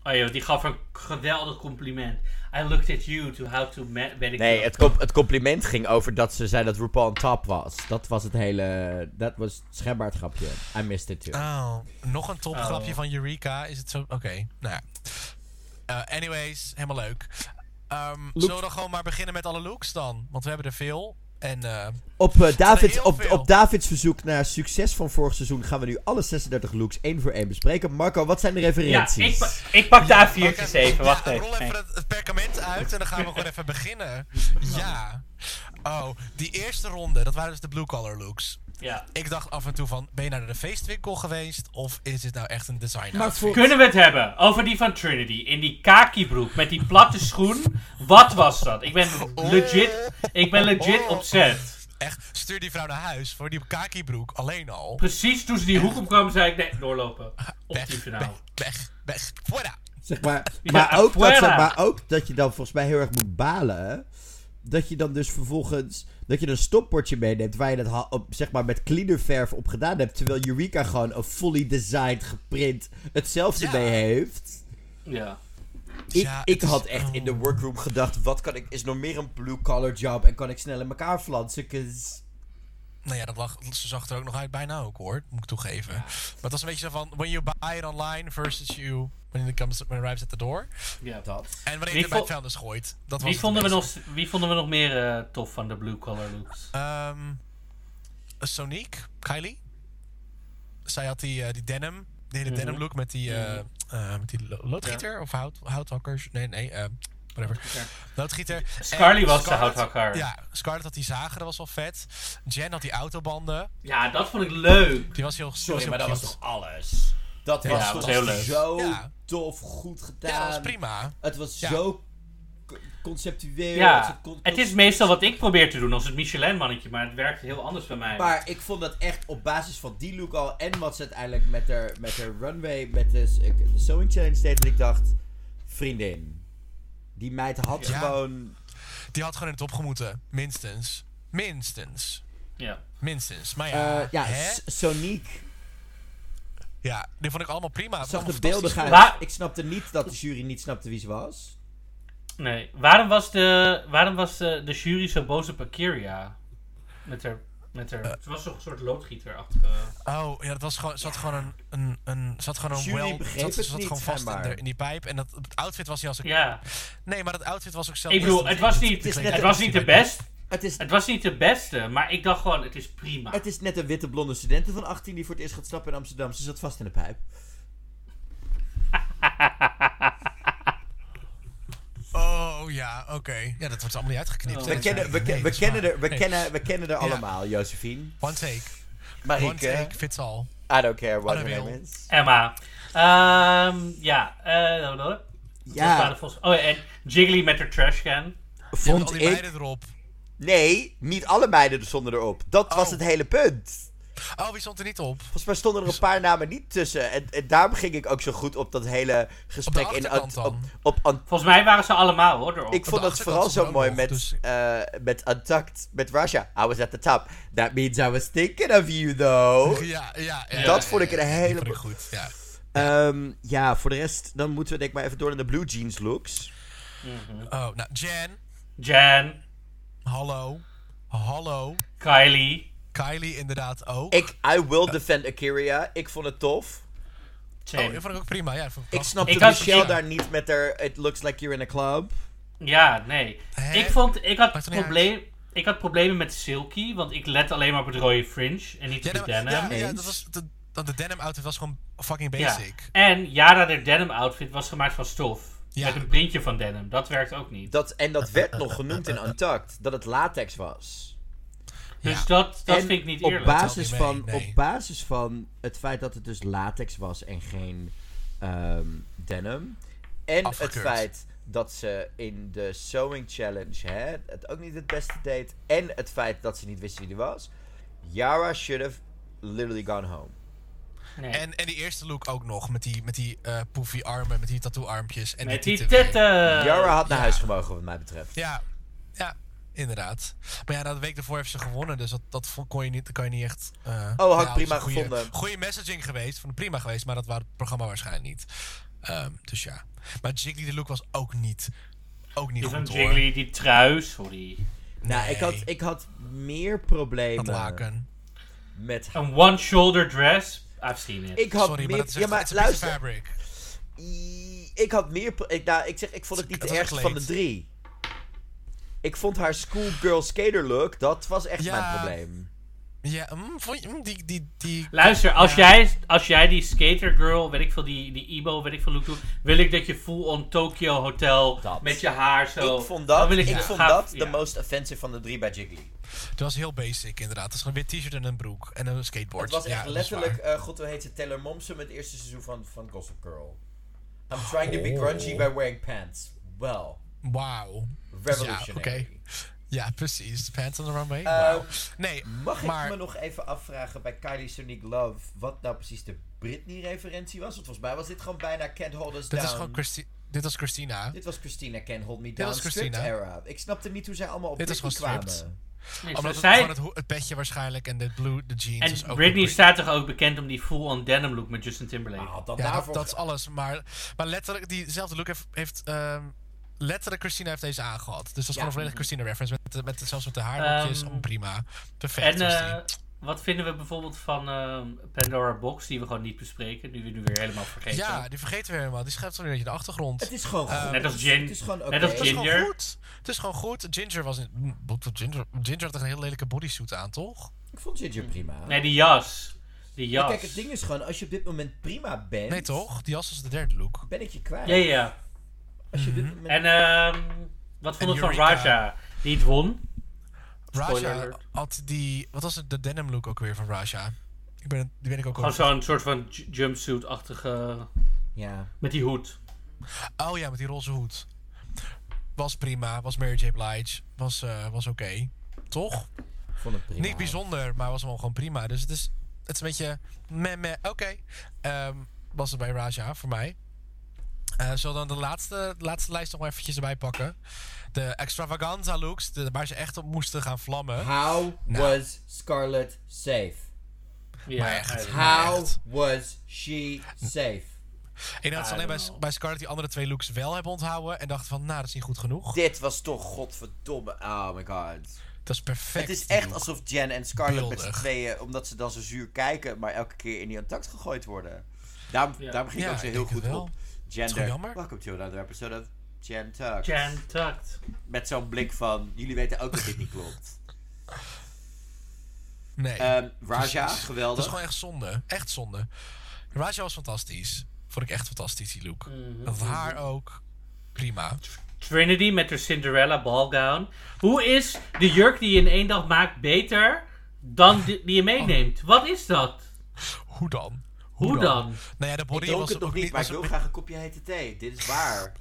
S2: Oh joh, die gaf een geweldig compliment. I looked at you to how to... ma- weet ik
S1: Nee,
S2: veel.
S1: het, com- het compliment ging over dat ze zei dat RuPaul on top was. Dat was het hele, dat was schijnbaar het grapje. I missed it too.
S3: Oh, nog een topgrapje
S2: Oh.
S3: van Eureka. Is het zo? Oké, nou ja. Eh, anyways, helemaal leuk. Ehm, zullen we dan gewoon maar beginnen met alle looks dan? Want we hebben er veel. En eh,
S1: Op, eh, David,
S3: heel
S1: op,
S3: veel.
S1: op Davids verzoek naar succes van vorig seizoen gaan we nu alle 36 looks één voor één bespreken. Marco, wat zijn de
S2: Ja,
S1: referenties?
S2: ik, pa- ik pak daar de
S3: Oké,
S2: A4'tjes even. Wacht
S3: ja,
S2: even.
S3: Rol
S2: Nee.
S3: even het, het perkament uit en dan gaan we gewoon even beginnen. Ja. Oh, die eerste ronde, dat waren dus de blue collar looks.
S2: Ja.
S3: Ik dacht af en toe van, ben je naar de feestwinkel geweest? Of is dit nou echt een designer?
S5: Maar voor,
S2: Kunnen we het hebben over die van Trinity in die kakibroek met die platte schoen? Wat was dat? Ik ben legit, ik ben legit
S3: Oh.
S2: opzet.
S3: Echt, stuur die vrouw naar huis voor die kakibroek alleen al.
S2: Precies toen ze die hoek opkwam, zei ik nee, doorlopen.
S3: Ah,
S2: Op die
S3: Weg, weg,
S2: finale.
S3: weg, weg. Fuera.
S1: Zeg maar,
S2: Ja,
S1: maar, ook dat,
S2: fuera.
S1: ze- maar ook dat je dan volgens mij heel erg moet balen. hè? Dat je dan dus vervolgens. Dat je een stopbordje meeneemt waar je dat ha- op, zeg maar, met cleanerverf op gedaan hebt. Terwijl Eureka gewoon een fully designed, geprint hetzelfde
S3: Ja.
S1: mee heeft.
S2: Ja.
S1: Ik,
S3: Ja,
S1: ik
S3: het is-
S1: had echt in de workroom gedacht: wat kan ik. Is nog meer een blue-collar job en kan ik snel in elkaar flansen? 'Cause-
S3: Nou ja, dat lag, ze zag er ook nog uit bijna ook hoor, moet ik toegeven. Maar het was een beetje zo van, when you buy it online versus you... When it, comes, when it arrives at the door.
S2: ja.
S1: Dat.
S3: En wanneer
S2: Wie
S3: je het bij
S2: vo-
S3: het vuilnis gooit. Dat was
S2: Wie,
S3: het
S2: vonden we
S3: een
S2: nog, wie vonden we nog meer eh, tof van de blue collar looks?
S3: Ehm Sonique, Kylie. Zij had die, eh, die denim, die
S1: Mhm.
S3: hele denim look met die, eh, eh, met die lo- loodgieter of hout, houthakkers. Nee, nee, eh, whatever. Loodgieter.
S2: Scarly
S3: En
S2: was de
S3: Scarlett-
S2: houthakker.
S3: Ja, Scarlett had die zager, dat was wel vet. Jen had die autobanden,
S2: Ja, dat vond ik leuk.
S3: die was heel
S1: Sorry,
S3: heel
S1: maar dat was
S3: cute.
S1: toch alles? Dat was,
S2: dat
S1: toch
S2: was heel leuk.
S1: zo
S3: Ja.
S1: tof, goed gedaan.
S3: Ja, dat was prima.
S1: Het was
S3: Ja.
S1: zo co- conceptueel.
S2: Ja,
S1: het, kon-
S2: het is meestal wat ik probeer te doen als het Michelin-mannetje, maar het werkt heel anders bij mij.
S1: Maar ik vond dat echt op basis van die look al en wat ze uiteindelijk met haar, met haar runway, met de, s- de sewing challenge deed, dat ik dacht, vriendin, die meid had
S3: Ja.
S1: gewoon...
S3: Die had gewoon in de top gemoeten, minstens. Minstens.
S2: Ja.
S3: Minstens. Maar ja,
S1: eh ja,
S3: hè?
S1: S- Sonique
S3: ja, die vond ik allemaal prima.
S1: zag de
S3: beelden
S1: beelden
S3: gaan.
S1: gaan.
S2: Maar-
S1: Ik snapte niet dat de jury niet snapte wie ze was.
S2: Nee. Waarom was de, waarom was de, de jury zo boos op Akiria? Met haar... Met haar ze was toch een soort loodgieterachtige...
S3: Oh, ja, dat was gewoon, zat gewoon een, een, een, zat gewoon een
S1: Jury
S3: wel,
S1: begreep
S3: zat,
S1: het
S3: zat
S1: niet,
S3: gewoon vast in,
S1: schijnbaar.
S3: de- in die pijp en dat het outfit was niet als een,
S2: Ja.
S3: nee, maar dat outfit was ook zelf.
S2: Ik bedoel, het was niet,
S1: is net-
S2: het was niet de best,
S1: Het is,
S2: het was niet de beste, maar ik dacht gewoon, het is prima.
S1: het is net een witte blonde studenten van 18 die voor het eerst gaat stappen in Amsterdam. Ze zat vast in de pijp.
S3: Oh ja, oké, ja, dat wordt allemaal niet uitgeknipt.
S2: Oh.
S3: Nee,
S1: We
S3: dat
S1: kennen,
S3: is-
S1: we,
S3: nee,
S1: ken- we,
S3: dat is
S1: kennen
S3: waar.
S1: er, we,
S3: Nee.
S1: kennen, we kennen er allemaal, Josephine.
S3: One take, one
S2: eh,
S1: Marieke,
S3: take fits all.
S1: I don't care what
S3: Anne
S1: her
S3: Wil.
S1: name is.
S2: Emma. Ehm, ja, eh, dat bedoel ik. Dat
S1: Ja,
S2: waren volgens- Oh, en Jiggly met haar trashcan.
S3: Je hebt al
S1: vond
S3: die
S1: ik...
S3: meiden erop.
S1: Nee, niet alle meiden stonden erop. Dat was
S3: Oh.
S1: het hele punt.
S3: Oh, wie stond er niet op?
S1: Volgens mij stonden er een paar namen niet tussen. En, en daarom ging ik ook zo goed op dat hele gesprek. in
S3: achterkant
S1: Ant- op,
S3: dan?
S1: op Ant-
S2: Volgens mij waren ze allemaal hoor, erop.
S1: ik vond dat
S3: achterkant
S1: vooral zo
S3: stonden
S1: mooi
S3: ook
S1: met,
S3: nog, dus-
S1: eh, met Untucked, met Russia. I was at the top. That means I was thinking of you, though.
S3: Ja, ja, ja,
S1: Dat
S3: ja,
S1: vond ik
S3: ja,
S1: een
S3: ja, die
S1: hele-
S3: vond ik goed, ja.
S1: Ehm, ja, voor de rest, dan moeten we denk ik maar even door naar de blue jeans looks.
S3: Oh, nou, Jen,
S2: Jan,
S3: hallo, hallo.
S2: Kylie,
S3: Kylie inderdaad ook.
S1: Ik, I will defend Akiria. Ik vond het tof.
S3: Oh,
S2: Shane.
S3: dat vond ik ook prima, ja. dat vond
S1: Ik
S3: prachtig.
S1: snapte
S2: Ik had-
S1: Michelle
S2: ik-
S1: daar niet met haar It looks like you're in a club.
S2: Ja, nee.
S3: Hè?
S2: Ik vond, ik had,
S3: Maakt er niet
S2: probleem, ik had problemen met Silky, want ik let alleen maar op het rode fringe en niet op
S3: Ja,
S2: de
S3: nee, maar-
S2: denim.
S3: ja, ja,
S1: Eens.
S3: dat was... De, dat de denim outfit was gewoon fucking
S2: Ja.
S3: basic.
S2: En Yara, de denim outfit was gemaakt van stof.
S3: Ja.
S2: Met een printje van denim. Dat werkt ook niet.
S1: Dat, en dat werd nog genoemd in Untucked, dat het latex was.
S2: dus
S3: Ja.
S2: dat, dat
S1: en
S2: vind ik niet
S1: op
S2: eerlijk.
S1: basis,
S3: Telt niet
S1: van,
S3: mee, nee.
S1: op basis van het feit dat het dus latex was en geen ehm, denim, En
S3: Afgekeurd.
S1: het feit dat ze in de Sewing Challenge hè, het ook niet het beste deed. En het feit dat ze niet wist wie die was. Yara should have literally gone home.
S2: Nee.
S3: En, en die eerste look ook nog, met die, met die eh poefie armen, met die tattoo armpjes. En
S2: Met die
S3: titten weer.
S2: titten.
S1: Yara had naar
S3: ja.
S1: huis gemogen, wat mij betreft.
S3: Ja, ja, inderdaad. Maar ja, dat week daarvoor heeft ze gewonnen, dus dat, dat vo- kon je niet, dat kan je niet echt... eh, nou,
S1: Oh, had ik
S3: dat
S1: prima
S3: is een goede-
S1: gevonden.
S3: Goede messaging geweest, van prima geweest, maar dat was het programma waarschijnlijk niet. Ehm, dus ja. Maar Jiggly de look was ook niet, ook niet
S2: Die van
S3: goed
S2: Jiggly, die trui, sorry.
S3: hoor.
S1: Nou, ik had,
S3: Nee,
S1: ik had meer
S3: dat
S1: problemen
S3: laken.
S1: met haar.
S2: Een one-shoulder dress. I've seen it.
S1: Ik had
S3: Oh, Sorry,
S1: meer,
S3: maar dat is echt
S1: ja, maar
S3: it's a piece of
S1: luister.
S3: fabric.
S1: I- Ik had meer. pro- Ik, nou, ik zeg, ik vond het niet
S3: Het
S1: de
S3: was een
S1: ergste van de
S3: kleed.
S1: drie. Ik vond haar schoolgirl skater look, dat was echt
S3: Ja.
S1: mijn probleem.
S3: Ja, mm, vond je- mm, die, die, die...
S2: Luister, als, jij, als jij die skater girl, weet ik veel, die, die Ibo, weet ik veel, look doet, wil ik dat je full on Tokyo Hotel
S1: Dat.
S2: met je haar zo.
S1: ik vond
S2: Dan
S1: dat,
S2: wil
S1: ik
S2: ja,
S1: vond
S2: gaaf-
S1: dat de
S2: ja.
S1: most offensive van de drie bij Jiggly.
S3: Het was heel basic inderdaad. Het is gewoon een wit t-shirt en een broek en een skateboard.
S1: Het was
S3: Ja,
S1: echt
S3: dat is waar.
S1: letterlijk, eh, god, hoe heet ze? Taylor Momsen, het eerste seizoen van, van Gossip Girl. I'm trying to be
S3: Oh.
S1: grungy by wearing pants. Well,
S3: Wauw. Dus
S1: revolutionary.
S3: Ja, oké. Ja, precies. Pants on the runway.
S1: Wauw.
S3: nee,
S1: Mag
S3: maar
S1: ik me nog even afvragen bij Kylie Sonic Love wat nou precies de Britney-referentie was? Want volgens mij was dit gewoon bijna Can't Hold Us
S3: dit,
S1: Down.
S3: is gewoon Christi- dit was Christina.
S1: Dit was Christina Can't Hold Me Down
S3: was
S1: script
S3: Christina.
S1: era. Ik snapte niet hoe zij allemaal op
S3: Dit was
S1: Britney
S3: gewoon
S1: kwamen.
S3: script.
S2: Nee,
S3: Omdat het,
S2: Dus zij-
S3: gewoon het, ho- het petje waarschijnlijk en de blue, de jeans. is
S2: en
S3: ook
S2: Britney
S3: een
S2: staat toch ook bekend om die full on denim look met Justin Timberlake.
S1: Maar
S3: Oh,
S1: had dat
S3: Ja,
S1: daarvoor...
S3: dat, dat is alles. Maar, maar letterlijk, diezelfde look heeft... heeft ehm, letterlijk Christina heeft deze aangehad. Dus dat is gewoon een volledige Christina reference. Met, de- met, de- zelfs met de haarlokjes.
S2: Ehm,
S3: allemaal prima. Perfect.
S2: en
S3: was die.
S2: eh, wat vinden we bijvoorbeeld van ehm, Pandora Box, die we gewoon niet bespreken, die we nu weer helemaal vergeten.
S3: ja, die vergeten we helemaal. Die schuift dan weer in de achtergrond.
S1: Het is gewoon goed.
S2: Net als Jin.
S1: Ehm, Het is gewoon oké.
S2: Net als
S3: Het is
S2: Jin.
S3: gewoon
S2: Ginger.
S3: goed. Het is gewoon goed. Ginger was in... mm, Ginger, Ginger had echt een heel lelijke bodysuit aan, toch?
S1: Ik vond Ginger prima.
S2: Nee, die jas. Die
S1: Maar
S2: jas.
S1: Kijk, het ding is gewoon, als je op dit moment prima bent...
S3: Nee, toch? Die jas was de derde look.
S1: Ben ik je kwijt.
S2: Ja, ja.
S1: Als je op dit
S3: Mhm.
S1: moment...
S2: En ehm, wat vond
S3: En
S2: ik van
S3: Eureka.
S2: Raja, die het won? Spoiler
S3: Raja
S2: alert.
S3: had die... Wat was het, de denim look ook weer van Raja? Ik ben, die ben ik ook
S2: Gewoon
S3: over.
S2: zo'n soort van j- jumpsuit-achtige...
S1: Ja.
S2: Met die hoed.
S3: Oh ja, met die roze hoed. Was prima. Was Mary J. Blige. Was, eh, was oké. Toch?
S1: Ik vond het prima.
S3: Niet bijzonder, maar was wel gewoon prima. Dus het is, het is een beetje... Meh, meh. Oké. Ehm, was het bij Raja, voor mij. Eh, Zullen we dan de laatste, de laatste lijst nog maar eventjes erbij pakken? De extravaganza looks, de, waar ze echt op moesten gaan vlammen.
S1: How
S3: Nou.
S1: was Scarlett safe?
S2: Ja,
S3: Maar echt.
S2: eigenlijk.
S1: How
S3: echt.
S1: was she safe?
S3: Ik denk dat ze
S2: I
S3: alleen bij,
S2: don't know.
S3: bij Scarlett die andere twee looks wel hebben onthouden. En dachten van, nou, dat is niet goed genoeg.
S1: Dit was toch godverdomme... Oh my god.
S3: Dat is perfect.
S1: Het is
S3: die
S1: echt
S3: look.
S1: alsof Jen en Scarlett met
S3: Beeldig.
S1: z'n tweeën, omdat ze dan zo zuur kijken, maar elke keer in die contact gegooid worden. Daarom,
S2: Ja.
S1: daarom ging
S3: Ja,
S1: ik ook zo
S3: ik
S1: heel
S3: denk het
S1: goed
S3: wel.
S1: op.
S3: is gewoon
S1: Gender.
S3: jammer.
S1: Welcome to another episode of Jen Talks.
S2: Jan Tucked.
S1: Met zo'n blik van, jullie weten ook dat dit niet klopt.
S3: Nee.
S1: Ehm Raja,
S3: dat is
S1: geweldig.
S3: gewoon echt zonde. Echt zonde. Raja was fantastisch. Vond ik echt fantastisch, die look.
S1: Mhm.
S3: Dat haar ook. Prima.
S2: Trinity met haar Cinderella ballgown. Hoe is de jurk die je in één dag maakt beter dan die, die je meeneemt? Wat is dat?
S3: Hoe dan?
S2: Hoe dan?
S3: Nou ja, de
S1: Ik
S3: body
S1: dook
S3: was
S1: het nog
S3: ook
S1: niet,
S3: niet...
S1: maar
S3: Was
S1: ik wil
S3: ook,
S1: graag een kopje hete thee. Dit is waar.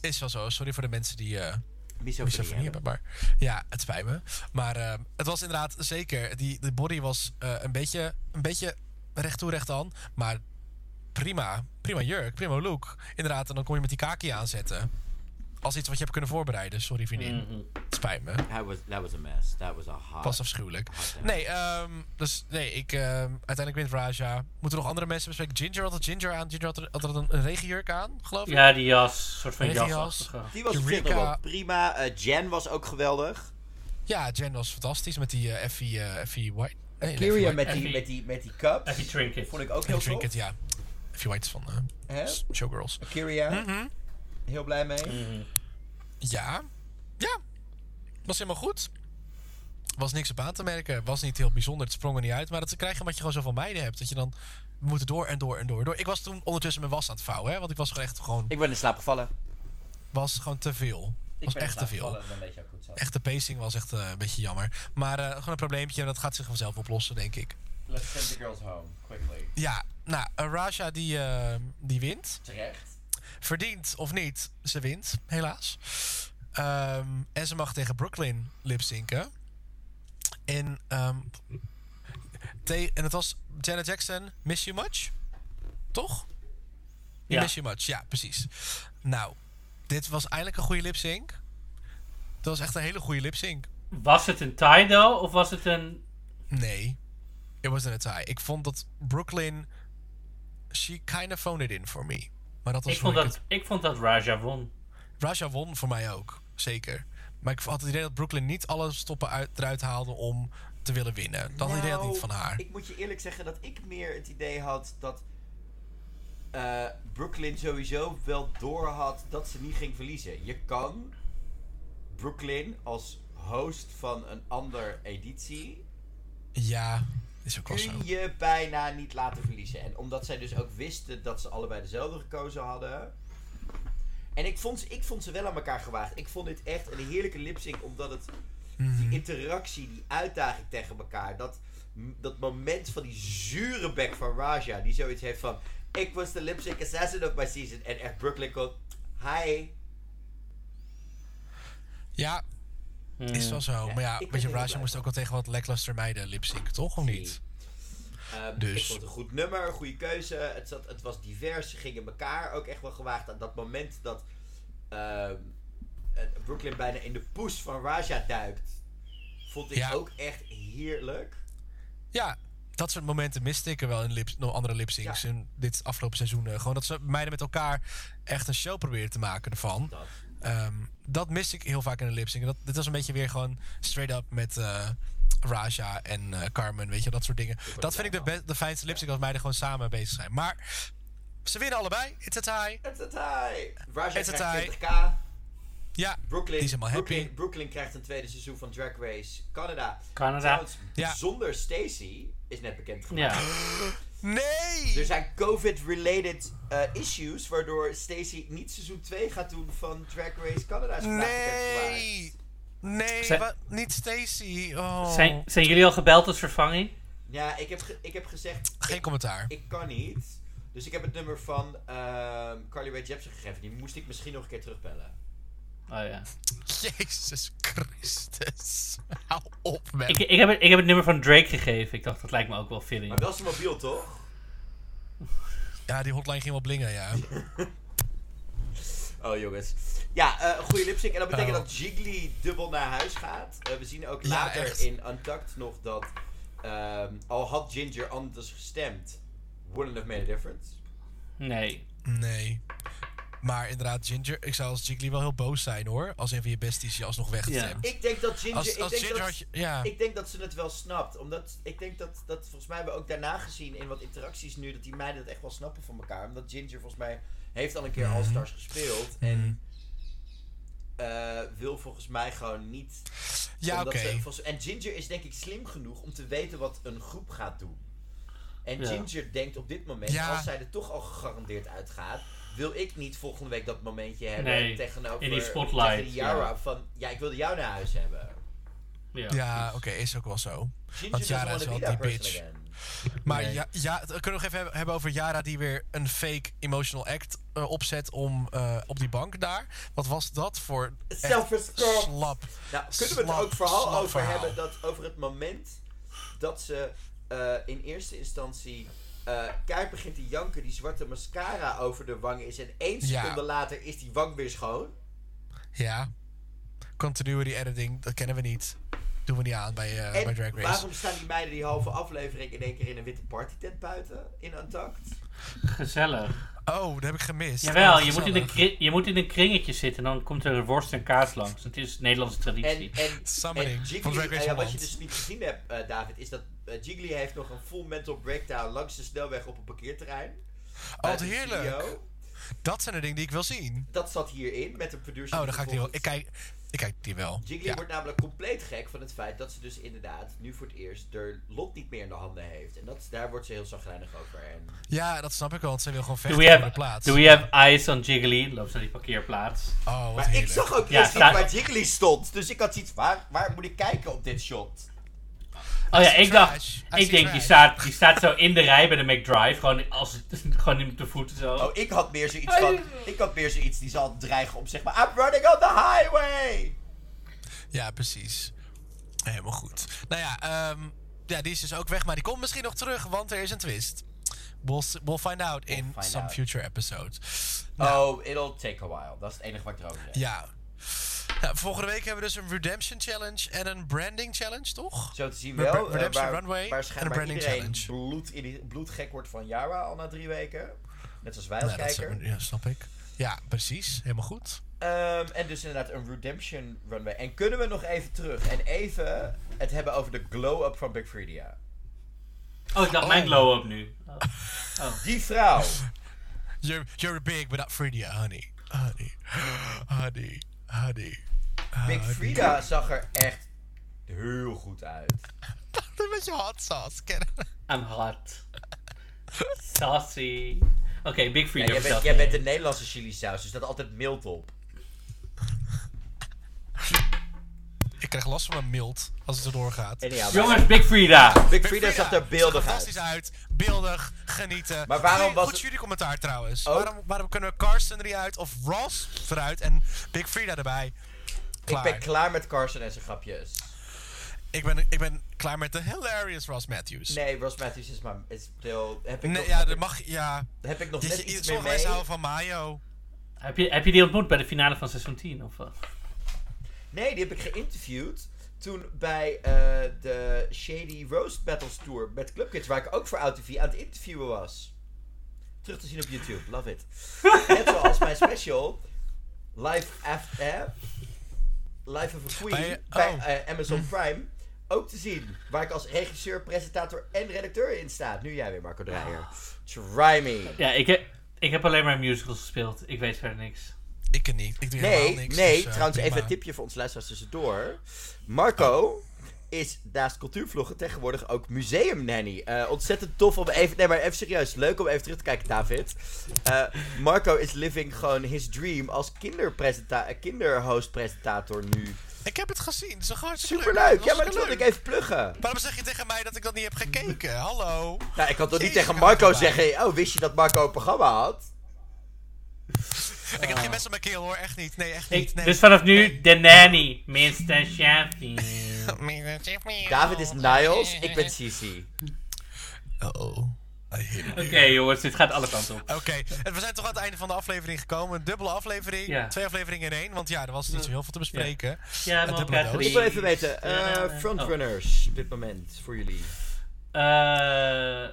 S3: is wel zo. Sorry voor de mensen die... eh,
S1: Misofonie.
S3: misofonie
S1: hebben.
S3: hebben. Maar ja, het spijt me. Maar ehm, het was inderdaad zeker. Die, de body was eh, een, beetje, een beetje recht toe, recht aan. Maar prima. Prima jurk, prima look. Inderdaad, en dan kon je met die kaki aanzetten. Als iets wat je hebt kunnen voorbereiden. Sorry, vriendin.
S1: Mhm.
S3: Het spijt me.
S1: That was, that was a mess. That was a hot.
S3: Was afschuwelijk. Nee, ehm, dus nee, ik, ehm, uiteindelijk wint Raja. Moeten er nog andere mensen bespreken? Ginger had het ginger aan. Ginger had er, had er een, een regenjurk aan, geloof ik.
S2: Ja, die jas. soort van
S3: Met die
S2: jasachtige.
S1: Die was
S3: Eureka.
S1: verder wel prima. Eh, Jen was ook geweldig.
S3: Ja, Jen was fantastisch met die eh, Effie, eh, Effie White. Nee, nee, Effie
S1: Kyria
S3: White.
S1: met
S2: Effie.
S1: die, met die, met die cups.
S2: Effie Trinket.
S1: Vond ik ook heel
S3: Effie Trinket,
S1: tof.
S3: ja. Effie White is van eh,
S1: Hè?
S3: s- Showgirls.
S1: Kyria.
S3: Mhm.
S1: Heel blij mee.
S3: Ja. Ja. Was helemaal goed. Was niks op aan te merken. Was niet heel bijzonder. Het sprong er niet uit. Maar dat krijg je omdat je gewoon zoveel meiden hebt. Dat je dan we moeten door en door en door. en door. Ik was toen ondertussen mijn was aan het vouwen. Hè, want ik was gewoon echt gewoon,
S1: Ik ben in slaap gevallen.
S3: was gewoon te veel.
S1: Ik
S3: Was
S1: ben in
S3: echt te
S1: slaap
S3: veel.
S1: gevallen, dan weet je ook hoe het zat.
S3: Echt de pacing was echt eh, een beetje jammer. Maar eh, gewoon een probleempje. En dat gaat zich vanzelf oplossen, denk ik.
S1: Let's send the girls home, quickly.
S3: Ja. Nou, eh, Raja die, eh, die wint.
S1: Terecht.
S3: Verdient of niet, ze wint, helaas. Ehm, en ze mag tegen Brooklyn lipzinken. En, ehm, te- en het was Janet Jackson, Miss You Much? Toch?
S2: Ja.
S3: Miss You Much, ja, precies. Nou, dit was eindelijk een goede lipsync. Dat was echt een hele goede lipsync.
S2: Was het een Tidal of was het een...
S3: Nee, it wasn't a tie. Ik vond dat Brooklyn, she kinda phoned it in for me. Maar dat was
S2: Ik
S3: hoe
S2: vond, dat, ik vond dat Raja won.
S3: Raja won voor mij ook, zeker. Maar ik had het idee dat Brooklyn niet alle stoppen uit, eruit haalde om te willen winnen. Dat idee had ik niet van haar.
S1: Nou, Ik moet je eerlijk zeggen dat ik meer het idee had dat eh, Brooklyn sowieso wel door had dat ze niet ging verliezen. Je kan Brooklyn als host van een ander editie
S3: Ja, is ook wel zo.
S1: kun je bijna niet laten verliezen. En omdat zij dus ook wisten dat ze allebei dezelfde gekozen hadden. En ik vond, ze- ik vond ze wel aan elkaar gewaagd. Ik vond dit echt een heerlijke lipsync, omdat het die interactie, die uitdaging tegen elkaar, dat, dat moment van die zure bek van Raja, die zoiets heeft van: Ik was de lipsync assassin of my season. En echt Brooklyn komt: Hi.
S3: Ja, is wel zo. Maar ja,
S1: ik ben
S3: weet je,
S1: er heel blij
S3: Raja moest
S1: van.
S3: ook wel tegen wat lackluster meiden lipsync, toch? Of niet?
S1: Ehm,
S3: Dus.
S1: Ik vond het een goed nummer, een goede keuze. Het, zat, het was divers, ze gingen elkaar ook echt wel gewaagd aan dat moment dat ehm, eh, Brooklyn bijna in de poes van Raja duikt. Vond ik
S3: Ja.
S1: ook echt heerlijk.
S3: Ja, dat soort momenten miste ik er wel in lips, nog andere lipsyncs
S1: Ja.
S3: in dit afgelopen seizoen. Eh, Gewoon dat ze meiden met elkaar echt een show proberen te maken ervan.
S1: Dat.
S3: Ehm, dat mis ik heel vaak in de lipsync. Dat, dit was een beetje weer gewoon straight up met eh, Raja en eh, Carmen, weet je, dat soort dingen. Dat vind ik de, be- de fijnste lipsync als meiden gewoon samen bezig zijn. Maar ze winnen allebei. It's a tie.
S1: It's a tie. Raja
S3: It's a
S1: krijgt
S3: tie.
S1: 20k.
S3: Ja,
S1: Brooklyn,
S3: die is helemaal happy.
S1: Brooklyn, Brooklyn krijgt een tweede seizoen van Drag Race Canada.
S2: Canada.
S1: Trouwens,
S3: Ja.
S1: zonder Stacy is net bekend gemaakt.
S2: Ja.
S3: Nee!
S1: Er zijn COVID-related eh, issues, waardoor Stacy niet seizoen 2 gaat doen van Drag Race Canada. Is vandaag bekendgemaakt.
S3: nee! Nee,
S2: Zijn-
S3: wat- niet Stacy. Oh.
S2: Zijn, zijn jullie al gebeld als vervanging?
S1: Ja, ik heb, ge- ik heb gezegd,
S3: Geen commentaar.
S1: ik kan niet. Dus ik heb het nummer van ehm, Carly Rae Jepsen gegeven. Die moest ik misschien nog een keer terugbellen.
S2: Oh ja.
S3: Jezus Christus. Hou op, man.
S2: Ik, ik, heb het, ik heb het nummer van Drake gegeven. Ik dacht, dat lijkt me ook wel
S1: Maar
S2: fitting.
S1: wel zijn mobiel, toch?
S3: Ja, die hotline ging wel blingen, ja.
S1: Oh, jongens. Ja, eh, een goede lipstick. En dat betekent
S3: Oh.
S1: dat Jiggly dubbel naar huis gaat. Eh, we zien ook
S3: Ja,
S1: later
S3: echt.
S1: in Untucked nog dat... ehm, al had Ginger anders gestemd, wouldn't have made a difference.
S2: Nee.
S3: Nee. Maar inderdaad, Ginger, ik zou als Jiggly wel heel boos zijn hoor. Als een van je besties je alsnog wegstemt.
S1: Ik denk dat Ginger...
S3: Als,
S1: ik
S3: als
S1: denk
S3: Ginger
S1: dat...
S3: had je. Ja.
S1: Ik denk dat ze het wel snapt. Omdat ik denk dat, dat volgens mij hebben we ook daarna gezien in wat interacties nu, dat die meiden het echt wel snappen van elkaar. Omdat Ginger volgens mij heeft al een
S3: Mhm.
S1: keer All-Stars gespeeld. En eh, wil volgens mij gewoon niet.
S3: ja, oké.
S1: omdat ze- volgens- En Ginger is denk ik slim genoeg om te weten wat een groep gaat doen. En
S2: Ja.
S1: Ginger denkt op dit moment,
S3: Ja.
S1: als zij er toch al gegarandeerd uitgaat, wil ik niet volgende week dat momentje hebben
S2: Nee,
S1: tegenover
S2: in die spotlight,
S1: tegen die Yara
S2: ja.
S1: van ja, ik wilde jou naar huis hebben.
S2: Ja.
S3: Ja, oké, is ook wel zo.
S1: Ginger
S3: Want Yara
S1: doesn't
S3: is
S1: wanna
S3: wel
S1: be
S3: die
S1: that
S3: bitch.
S1: person again.
S3: Maar
S2: Nee.
S3: ja, ja, het- kunnen we nog even hebben over Yara die weer een fake emotional act eh, opzet om eh, op die bank daar? Wat was dat voor echt
S1: Self-respect.
S3: slap?
S1: Nou, kunnen we het
S3: Slap-
S1: ook verhaal
S3: slap
S1: over
S3: verhaal.
S1: hebben dat over het moment dat ze eh, in eerste instantie eh keihard begint te janken, die zwarte mascara over de wang is en één
S3: Ja.
S1: seconde later is die wang weer schoon.
S3: Ja. Continuity editing, dat kennen we niet. Doen we niet aan bij, eh, bij Drag
S1: en
S3: Race.
S1: waarom staan die meiden die halve aflevering in één keer in een witte partytent buiten in Untucked?
S2: Gezellig.
S3: Oh, dat heb ik gemist.
S2: Jawel,
S3: Oh,
S2: je moet, in een
S3: gezellig.
S2: kri- je moet in een kringetje zitten en dan komt er worst en kaas langs. Het is Nederlandse traditie.
S1: En, en,
S3: Summoning
S1: en
S3: van
S1: Jiggly,
S3: Drag Race
S1: eh, ja, wat je
S3: Holland.
S1: dus niet gezien hebt, eh, David, is dat eh, Jiggly heeft nog een full mental breakdown langs de snelweg op een parkeerterrein.
S3: Oh, wat
S1: buiten de
S3: heerlijk.
S1: studio.
S3: Dat zijn de dingen die ik wil zien.
S1: Dat zat hierin met de producer.
S3: Oh,
S1: die
S3: dan ga ik die wel. Ik
S1: vervolgens-
S3: kijk, ik kijk die wel.
S1: Jiggly
S3: Ja.
S1: wordt namelijk compleet gek van het feit dat ze dus inderdaad nu voor het eerst de lot niet meer in de handen heeft. En dat, daar wordt ze heel zagrijnig over. En
S3: ja, dat snap ik wel, want zij wil gewoon
S2: Do
S3: vechten
S2: we,
S3: voor de
S2: have,
S3: plaats.
S2: do we have eyes on Jiggly? Loopt ze naar die parkeerplaats.
S3: Oh, wat
S1: maar
S3: heerlijk.
S1: ik zag ook
S2: Ja,
S1: eerst niet
S2: sta-
S1: waar Jiggly stond. Dus ik had zoiets, waar, waar moet ik kijken op dit shot?
S3: Oh,
S2: Oh ja, ik
S3: trash.
S2: dacht,
S3: I
S2: ik
S3: see
S2: denk, die
S3: trash.
S2: staat, die staat zo in de rij bij de McDrive. Gewoon, als, gewoon in de voeten zo.
S1: Oh, ik had meer zoiets van. Ik had meer zoiets die zal dreigen om zeg maar. I'm running on the highway!
S3: Ja, precies. Helemaal goed. Nou ja, ehm, ja, die is dus ook weg, maar die komt misschien nog terug, want er is een twist. We'll, s- we'll find out in
S1: find
S3: some
S1: out.
S3: future episode.
S1: Oh, it'll take a while. Dat is het enige wat ik erover zeg.
S3: Ja. Nou, volgende week hebben we dus een Redemption Challenge en een Branding Challenge, toch?
S1: Zo te zien
S3: Re-
S1: wel. eh,
S3: Redemption
S1: waar,
S3: Runway
S1: waar
S3: en
S1: schijnbaar
S3: Branding
S1: iedereen
S3: Challenge.
S1: bloed, in- bloedgek wordt van Yara al na drie weken. Net als wij als
S3: Ja, Nou, dat
S1: kijker.
S3: ja, snap ik. Ja, precies. Helemaal goed.
S1: Ehm, en dus inderdaad een redemption runway. En kunnen we nog even terug en even het hebben over de glow-up van Big Freedia.
S2: Oh, ik dacht mijn glow-up nu. Oh.
S1: Die vrouw.
S3: You're, you're big, but not Frida, honey. Honey. Honey. Honey.
S1: Big
S3: Honey.
S1: Frida zag er echt heel goed uit.
S3: Een beetje hot sauce, kennen.
S2: I'm hot. Sassy. Oké, Big Free.
S1: En jij, bent, jij bent de Nederlandse chili saus, dus dat altijd mild op.
S3: Ik krijg last van mijn mild als het erdoor gaat.
S1: Anyhow, maar
S2: Jongens, Big Frida.
S1: Big Frida zag er beeldig
S3: fantastisch
S1: uit.
S3: uit. Beeldig, genieten.
S1: Maar waarom
S3: Goeie-
S1: was
S3: goed
S1: het-
S3: jullie commentaar trouwens.
S1: Ook?
S3: Waarom, waarom kunnen Carsten er niet uit of Ross eruit en Big Frida erbij?
S1: Ik
S3: Klaar.
S1: ben klaar met Carson en zijn grapjes.
S3: ik, ben, ik ben klaar met de hilarious Ross Matthews.
S1: Nee, Ross Matthews is maar... Is still, heb ik
S3: Nee,
S1: nog,
S3: ja,
S1: heb
S3: dat
S1: ik-
S3: mag. Ja.
S1: heb ik nog
S3: Je-
S1: net
S3: je-
S1: iets meer
S3: Sommige
S1: mee.
S3: mensen houden van Mayo.
S2: Heb je, heb je die ontmoet bij de finale van seizoen 10? Of wat?
S1: Nee, die heb ik geïnterviewd toen bij eh, de Shady Roast Battles Tour met Club Kids, waar ik ook voor OutTV aan het interviewen was. Terug te zien op YouTube, love it. Net zoals mijn special, Life After, Life of a Queen, bij,
S3: Bij- oh.
S1: eh, Amazon Prime, ook te zien. Waar ik als regisseur, presentator en redacteur in sta. Nu jij weer, Marco Dreyer. Try me.
S2: Ja, ik heb, ik heb alleen maar musicals gespeeld. Ik weet verder niks.
S3: Ik ken niet. Ik doe
S1: Nee,
S3: helemaal niks.
S1: nee,
S3: dus, eh,
S1: trouwens
S3: prima.
S1: even een tipje voor ons luisteraars tussendoor. Marco is naast cultuurvloggen tegenwoordig ook museumnanny. Eh ontzettend tof om even... Nee, maar even serieus. Leuk om even terug te kijken, David. Eh, Marco is living gewoon his dream als kinderpresenta- eh, kinderhostpresentator nu.
S3: Ik heb het gezien. Het is een hartstikke
S1: Superleuk!
S3: leuk.
S1: Ja, maar dat
S3: Hartstikke
S1: wilde ik
S3: leuk.
S1: even pluggen.
S3: Waarom zeg je tegen mij dat ik dat niet heb gekeken? Hallo.
S1: Nou, ik kan toch niet
S3: Jezus,
S1: tegen
S3: ik had het
S1: Marco
S3: erbij.
S1: zeggen... Oh, wist je dat Marco een programma had?
S3: Ik heb geen mensen op mijn keel hoor. Echt niet. Nee, echt niet.
S2: Ik,
S3: nee.
S2: dus vanaf nu, de nanny. Minster Shafi.
S1: David is Niles, ik ben Sisi.
S3: Uh-oh. I hit it.
S2: Oké jongens, dit gaat alle kanten op.
S3: Oké, en we zijn toch aan het einde van de aflevering gekomen. Een dubbele aflevering,
S2: Ja.
S3: twee afleveringen in één. Want ja, er was niet zo heel veel te bespreken.
S2: Ja, maar
S3: dubbele
S2: elkaar
S3: doos.
S2: drie.
S1: Ik wil even weten, eh,
S3: nou,
S2: Eh,
S3: Oh.
S1: frontrunners op dit moment voor jullie.
S2: oh. Eh,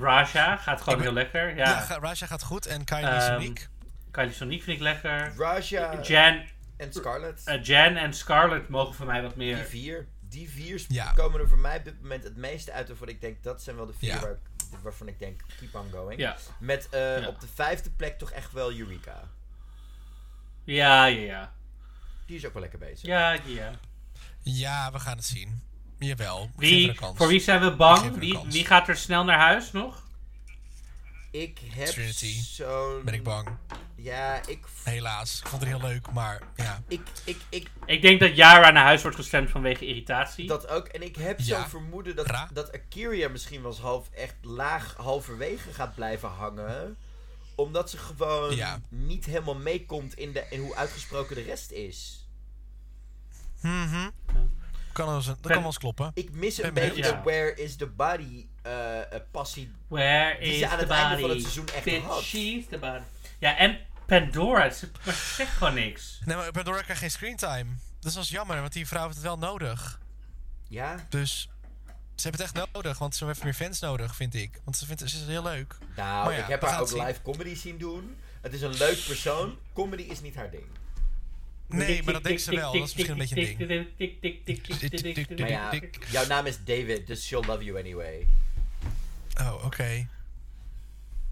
S2: Raja gaat gewoon heel lekker.
S3: Ja,
S2: Ja.
S3: ga- Raja gaat goed en Kylie is
S2: Ehm,
S3: uniek.
S2: Kylie Sonique vind ik lekker.
S1: Raja
S2: Jan,
S1: en Scarlett.
S2: eh, Jan en Scarlett mogen voor mij wat
S1: Die
S2: meer.
S1: vier, die vier sp-
S3: Ja.
S1: komen er voor mij op dit moment het meeste uit. Waarvan ik denk, dat zijn wel de vier
S3: Ja.
S1: waar ik- waarvan ik denk, keep on going.
S2: Ja.
S1: Met eh,
S2: Ja.
S1: op de vijfde plek toch echt wel Eureka.
S2: Ja, ja, ja.
S1: Die is ook wel lekker bezig.
S2: Ja, ja, ja.
S3: Ja, we gaan het zien. Jawel, geef er een
S2: Wie,
S3: kans.
S2: voor wie zijn we
S3: Geef
S2: bang?
S3: er een
S2: Wie,
S3: kans.
S2: wie gaat er snel naar huis nog?
S1: Ik heb
S3: Trinity.
S1: zo'n...
S3: Ben ik bang.
S1: Ja, ik,
S3: Helaas. Ik vond het heel leuk, maar ja.
S1: ik, ik, ik...
S2: Ik denk dat Yara naar huis wordt gestemd vanwege irritatie.
S1: Dat ook. En ik heb
S3: Ja.
S1: zo'n vermoeden dat,
S3: Ra.
S1: dat Akiria misschien wel eens half, echt laag halverwege gaat blijven hangen. Omdat ze gewoon
S3: Ja.
S1: niet helemaal meekomt in, de, in hoe uitgesproken de rest is.
S3: Mhm. Kan wel eens- dat kan wel eens kloppen.
S1: Ik mis een
S3: Ben
S1: beetje
S2: benieuwd.
S1: de
S2: Ja.
S1: where is the body eh, eh, passie.
S2: Where
S1: Die
S2: is
S1: ze aan
S2: the
S1: het einde
S2: body?
S1: van het seizoen echt
S2: Bitch,
S1: had.
S2: she's the body. Ja, en Pandora. Ze, maar ze zegt gewoon niks.
S3: Nee, maar Pandora krijgt geen screentime. Dus dat is jammer, want die vrouw heeft het wel nodig.
S1: Ja,
S3: Dus ze hebben het echt nodig, want ze heeft meer fans nodig, vind ik. Want ze vindt ze is heel leuk.
S1: nou,
S3: Maar ja,
S1: ik heb
S3: we
S1: haar
S3: gaan
S1: ook
S3: het zien.
S1: live comedy zien doen. Het is een leuk persoon. Comedy is niet haar ding.
S3: Nee, maar dat denkt ze wel. Dat is misschien een beetje een ding.
S1: Maar ja,
S3: Dik.
S1: jouw naam is David, dus she'll love you anyway.
S3: Oh, oké.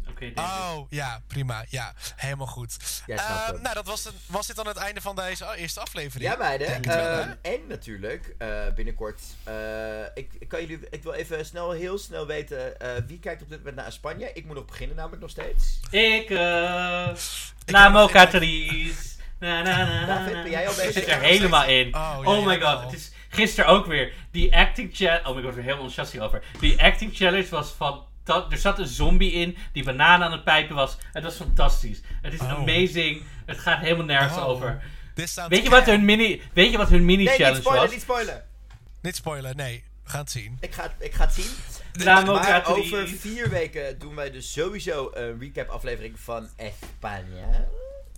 S2: Oké, David.
S3: Oh, ja, prima. Ja, helemaal goed.
S1: Jij snapt
S3: Eh,
S1: hem.
S3: nou, dat was, het- was dit dan het einde van deze oh, eerste aflevering?
S1: Ja, meiden.
S3: Denk het wel, hè?
S1: Ehm, en natuurlijk, eh, binnenkort. eh, ik, ik kan jullie, ik wil even snel, heel snel weten eh, wie kijkt op dit moment naar Spanje. Ik moet nog beginnen, namelijk nog steeds.
S2: Ik, eh...
S3: heb
S2: Namo
S3: nog- ik heb-
S2: Catrice. Na, na, na, na,
S1: David, ben jij al
S2: na.
S1: bezig?
S2: Ik zit er helemaal in.
S3: Oh,
S2: Oh,
S3: ja,
S2: my
S3: jawel.
S2: god, het is gisteren ook weer. Die acting challenge... Oh my god, ik word er heel enthousiast hierover. Die acting challenge was van... Er zat een zombie in die bananen aan het pijpen was. Het was fantastisch. Het is amazing. Het gaat helemaal nergens
S3: Oh.
S2: over.
S3: This sounds
S2: Weet je wat hun mini, weet je wat hun mini
S1: Nee, niet
S3: dus
S2: challenge
S1: spoilen,
S2: was?
S1: niet spoilen.
S3: Niet spoilen, nee. We gaan het zien.
S1: Ik ga, het- ik ga het zien. Maar
S2: Democratie.
S1: over vier weken doen wij dus sowieso een recap aflevering van España.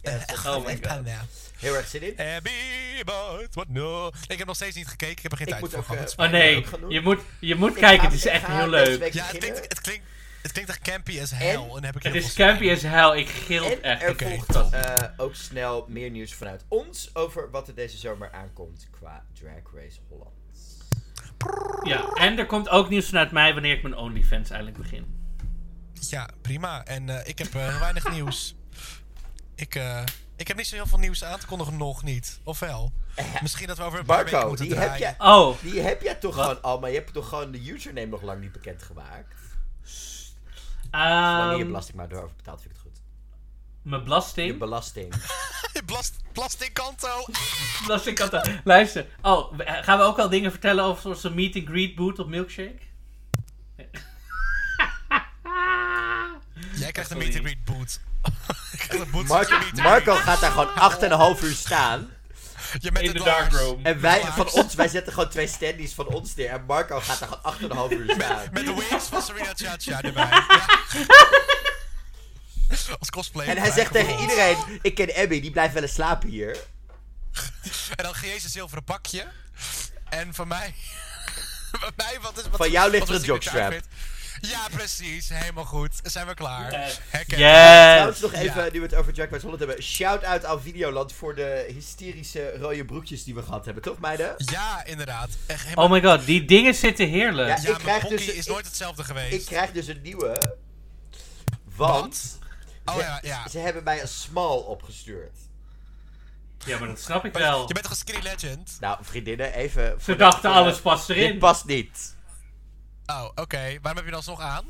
S1: Ja,
S3: Echt,
S2: oh my
S3: echt,
S2: god.
S3: ja.
S1: Heel erg zin in.
S3: Happy but what no. Ik heb nog steeds niet gekeken. Ik heb er geen
S1: Ik
S3: tijd
S1: moet
S3: voor
S1: ook,
S3: gehad.
S1: eh,
S3: Het spijt
S2: Oh
S3: me.
S2: nee,
S1: Ik ga het
S2: je moet, je moet
S1: Ik
S2: kijken.
S1: ga-
S2: Het is
S1: ik
S2: echt
S1: ga
S2: heel
S1: deze
S2: leuk.
S1: week
S3: Ja, het
S1: beginnen.
S3: klinkt, het, klinkt, het klinkt echt campy as hell. En, heb ik
S2: Het
S3: heel
S2: is
S3: veel
S2: campy
S3: spijt.
S2: as hell. Ik gild
S1: En
S2: echt.
S1: er
S3: Oké,
S1: volgt
S3: top.
S1: eh, ook snel meer nieuws vanuit ons over wat er deze zomer aankomt qua Drag Race Holland.
S2: Ja, en er komt ook nieuws vanuit mij wanneer ik mijn OnlyFans eindelijk begin.
S3: Ja, prima. En eh, ik heb eh, heel weinig nieuws. Ik, eh, ik heb niet zo heel veel nieuws aan te kondigen, nog niet. Of wel? Misschien dat we over een paar weken
S1: Marco,
S3: moeten
S1: die heb,
S3: draaien.
S1: jij,
S2: Oh,
S1: die heb jij toch
S2: Wat?
S1: gewoon al, maar je hebt toch gewoon de username nog lang niet bekend gemaakt? Wanneer je
S2: ehm,
S1: belasting maar door betaalt, vind ik het goed.
S2: mijn
S1: Je
S2: belasting.
S1: belasting.
S3: Blast, plastickanto.
S2: Belasting kan dat. eh, Luister. Oh, we- eh, gaan we ook al dingen vertellen over onze meet and greet boot op Milkshake?
S3: Jij krijgt een
S2: Sorry.
S3: meet and greet boot. Ik krijg een boot voor je meet
S1: Marco,
S3: and greet.
S1: Marco gaat daar gewoon 8,5 uur staan.
S3: Je bent
S2: In de
S3: het
S2: dark
S3: laars.
S2: room.
S1: En wij,
S3: Relax.
S1: van ons, wij zetten gewoon twee standees van ons neer. En Marco gaat daar gewoon 8,5 uur staan.
S3: Met de waves van Serena Chacha erbij. Ja. Als cosplay.
S1: En hij zegt tegen iedereen, ik ken Abby, die blijft wel eens slapen hier.
S2: Eh,
S3: En dan geef je een zilveren pakje. En van mij... van mij, wat is... Wat,
S1: Van jou ligt
S3: wat
S1: er
S3: is
S1: een
S3: die
S1: jockstrap.
S3: outfit? Ja, precies. Helemaal goed. Zijn we klaar.
S2: Eh,
S3: Herken.
S2: Yes!
S1: Trouwens nog even, nu we
S3: Ja.
S1: Nou, het over Jack Race Holland hebben. Shout-out aan Videoland voor de hysterische rode broekjes die we gehad hebben. Toch meiden?
S3: Ja, inderdaad. Echt helemaal...
S2: Oh my god, die dingen zitten heerlijk.
S1: Ja,
S3: ja,
S1: ik krijg
S3: mijn Pocky
S1: dus-
S3: is
S1: ik-
S3: nooit hetzelfde geweest.
S1: Ik krijg dus een nieuwe. Want
S3: oh ja, ja.
S1: ze hebben mij een small opgestuurd.
S2: Ja, maar dat snap ik
S3: Maar je-
S2: wel.
S3: Je bent toch een skinny legend?
S1: Nou vriendinnen, even...
S2: Ze
S1: voor de-
S2: dachten
S1: voor de-
S2: alles past
S1: Dit
S2: erin.
S1: past niet.
S3: Oh, oké. Waarom heb je dan nog aan?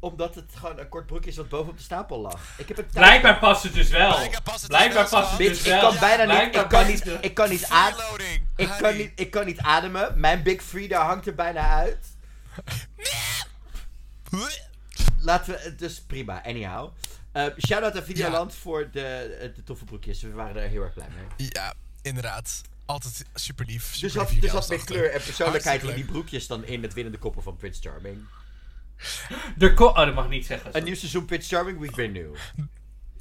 S1: Omdat het gewoon een kort broekje is wat bovenop de stapel lag. Ik heb een
S2: Blijkbaar past het dus wel.
S3: Blijkbaar past het
S2: Blijkbaar
S3: dus wel,
S2: past het
S1: Bitch,
S2: dus
S1: ik
S2: wel.
S1: kan bijna niet,
S2: Blijkbaar
S1: ik kan
S2: past
S1: niet,
S2: het.
S1: ik kan niet ademen.
S3: Freeloading.
S1: Ik kan, niet, ik kan niet ademen. Mijn Big Frida hangt er bijna uit. Laten we het dus prima. Anyhow. Eh Shout-out aan Videoland voor de, eh, de toffe broekjes. We waren er heel erg blij mee.
S3: Ja, inderdaad. Altijd super lief.
S1: Dus
S3: Super
S1: had,
S3: lief
S1: dus
S3: video's
S1: had meer
S3: achter.
S1: kleur en persoonlijkheid in
S3: Hartstikke
S1: die
S3: leuk.
S1: broekjes dan in het winnende koppel van Prince Charming.
S2: Er ko- oh, dat mag ik niet zeggen.
S1: Een
S2: sorry.
S1: nieuw seizoen Prince Charming, we've been new.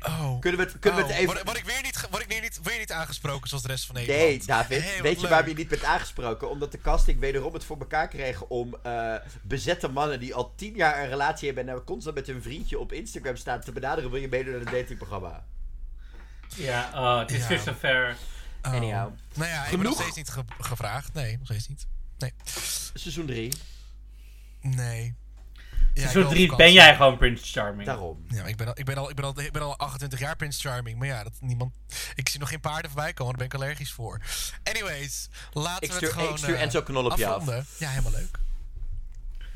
S3: Oh.
S1: Kunnen we het, kunnen we
S3: Oh,
S1: het even...
S3: Word, word ik weer niet, ge- word ik weer niet, weer niet aangesproken zoals de rest van Nederland?
S1: Nee, David.
S3: Hey, wat
S1: weet je
S3: leuk.
S1: waarom je niet bent aangesproken? Omdat de casting wederom het voor elkaar kreeg om eh, bezette mannen die al tien jaar een relatie hebben en nou constant met hun vriendje op Instagram staan te benaderen. Wil je meedoen aan het datingprogramma?
S2: Ja, oh, het is
S3: Ja.
S2: weer zo ver.
S3: Oh.
S1: Anyhow.
S3: Nou ja, ik ben
S1: Genoeg.
S3: nog steeds niet ge- gevraagd. Nee, nog steeds niet. Nee.
S1: Seizoen 3.
S3: Nee. Ja, ik
S2: Seizoen
S3: wil
S2: 3
S3: vakantie.
S2: ben jij gewoon Prince Charming.
S1: Daarom.
S3: Ja, maar ik ben, al, ik, ben al, ik, ben al, ik ben al 28 jaar Prince Charming. Maar ja, dat niemand. Ik zie nog geen paarden voorbij komen. Daar ben ik allergisch voor. Anyways, laten
S1: Ik
S3: we
S1: stuur,
S3: het gewoon.
S1: ik stuur
S3: eh,
S1: Enzo Knol op je af.
S3: afronden. Ja, helemaal leuk.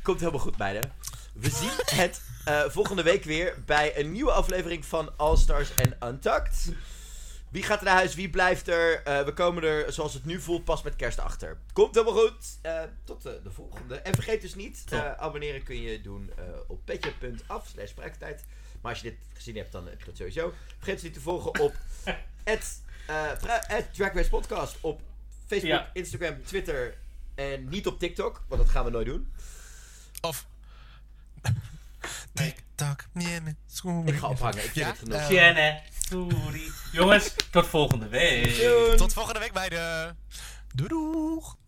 S1: Komt helemaal goed, meiden. We zien het eh, volgende week weer bij een nieuwe aflevering van All Stars en Untucked. Wie gaat er naar huis? Wie blijft er? Eh, we komen er, zoals het nu voelt, pas met kerst achter. Komt helemaal goed. Eh, tot eh, de volgende. En vergeet dus niet, eh, abonneren kun je doen eh, op petje.af slash praktijk. Maar als je dit gezien hebt, dan heb je dat sowieso. Vergeet ze niet te volgen op het, eh, pra- het Drag Race Podcast op Facebook,
S2: Ja.
S1: Instagram, Twitter en niet op TikTok, want dat gaan we nooit doen.
S3: Of. Tik-tak, nee, schoen.
S1: Ik ga ophangen. Ik vind
S3: Ja?
S1: het genoeg.
S3: Eh,
S2: Tjenne, sorry. Jongens, tot volgende week.
S1: Doei.
S3: Tot volgende week bij de. Doei doeg.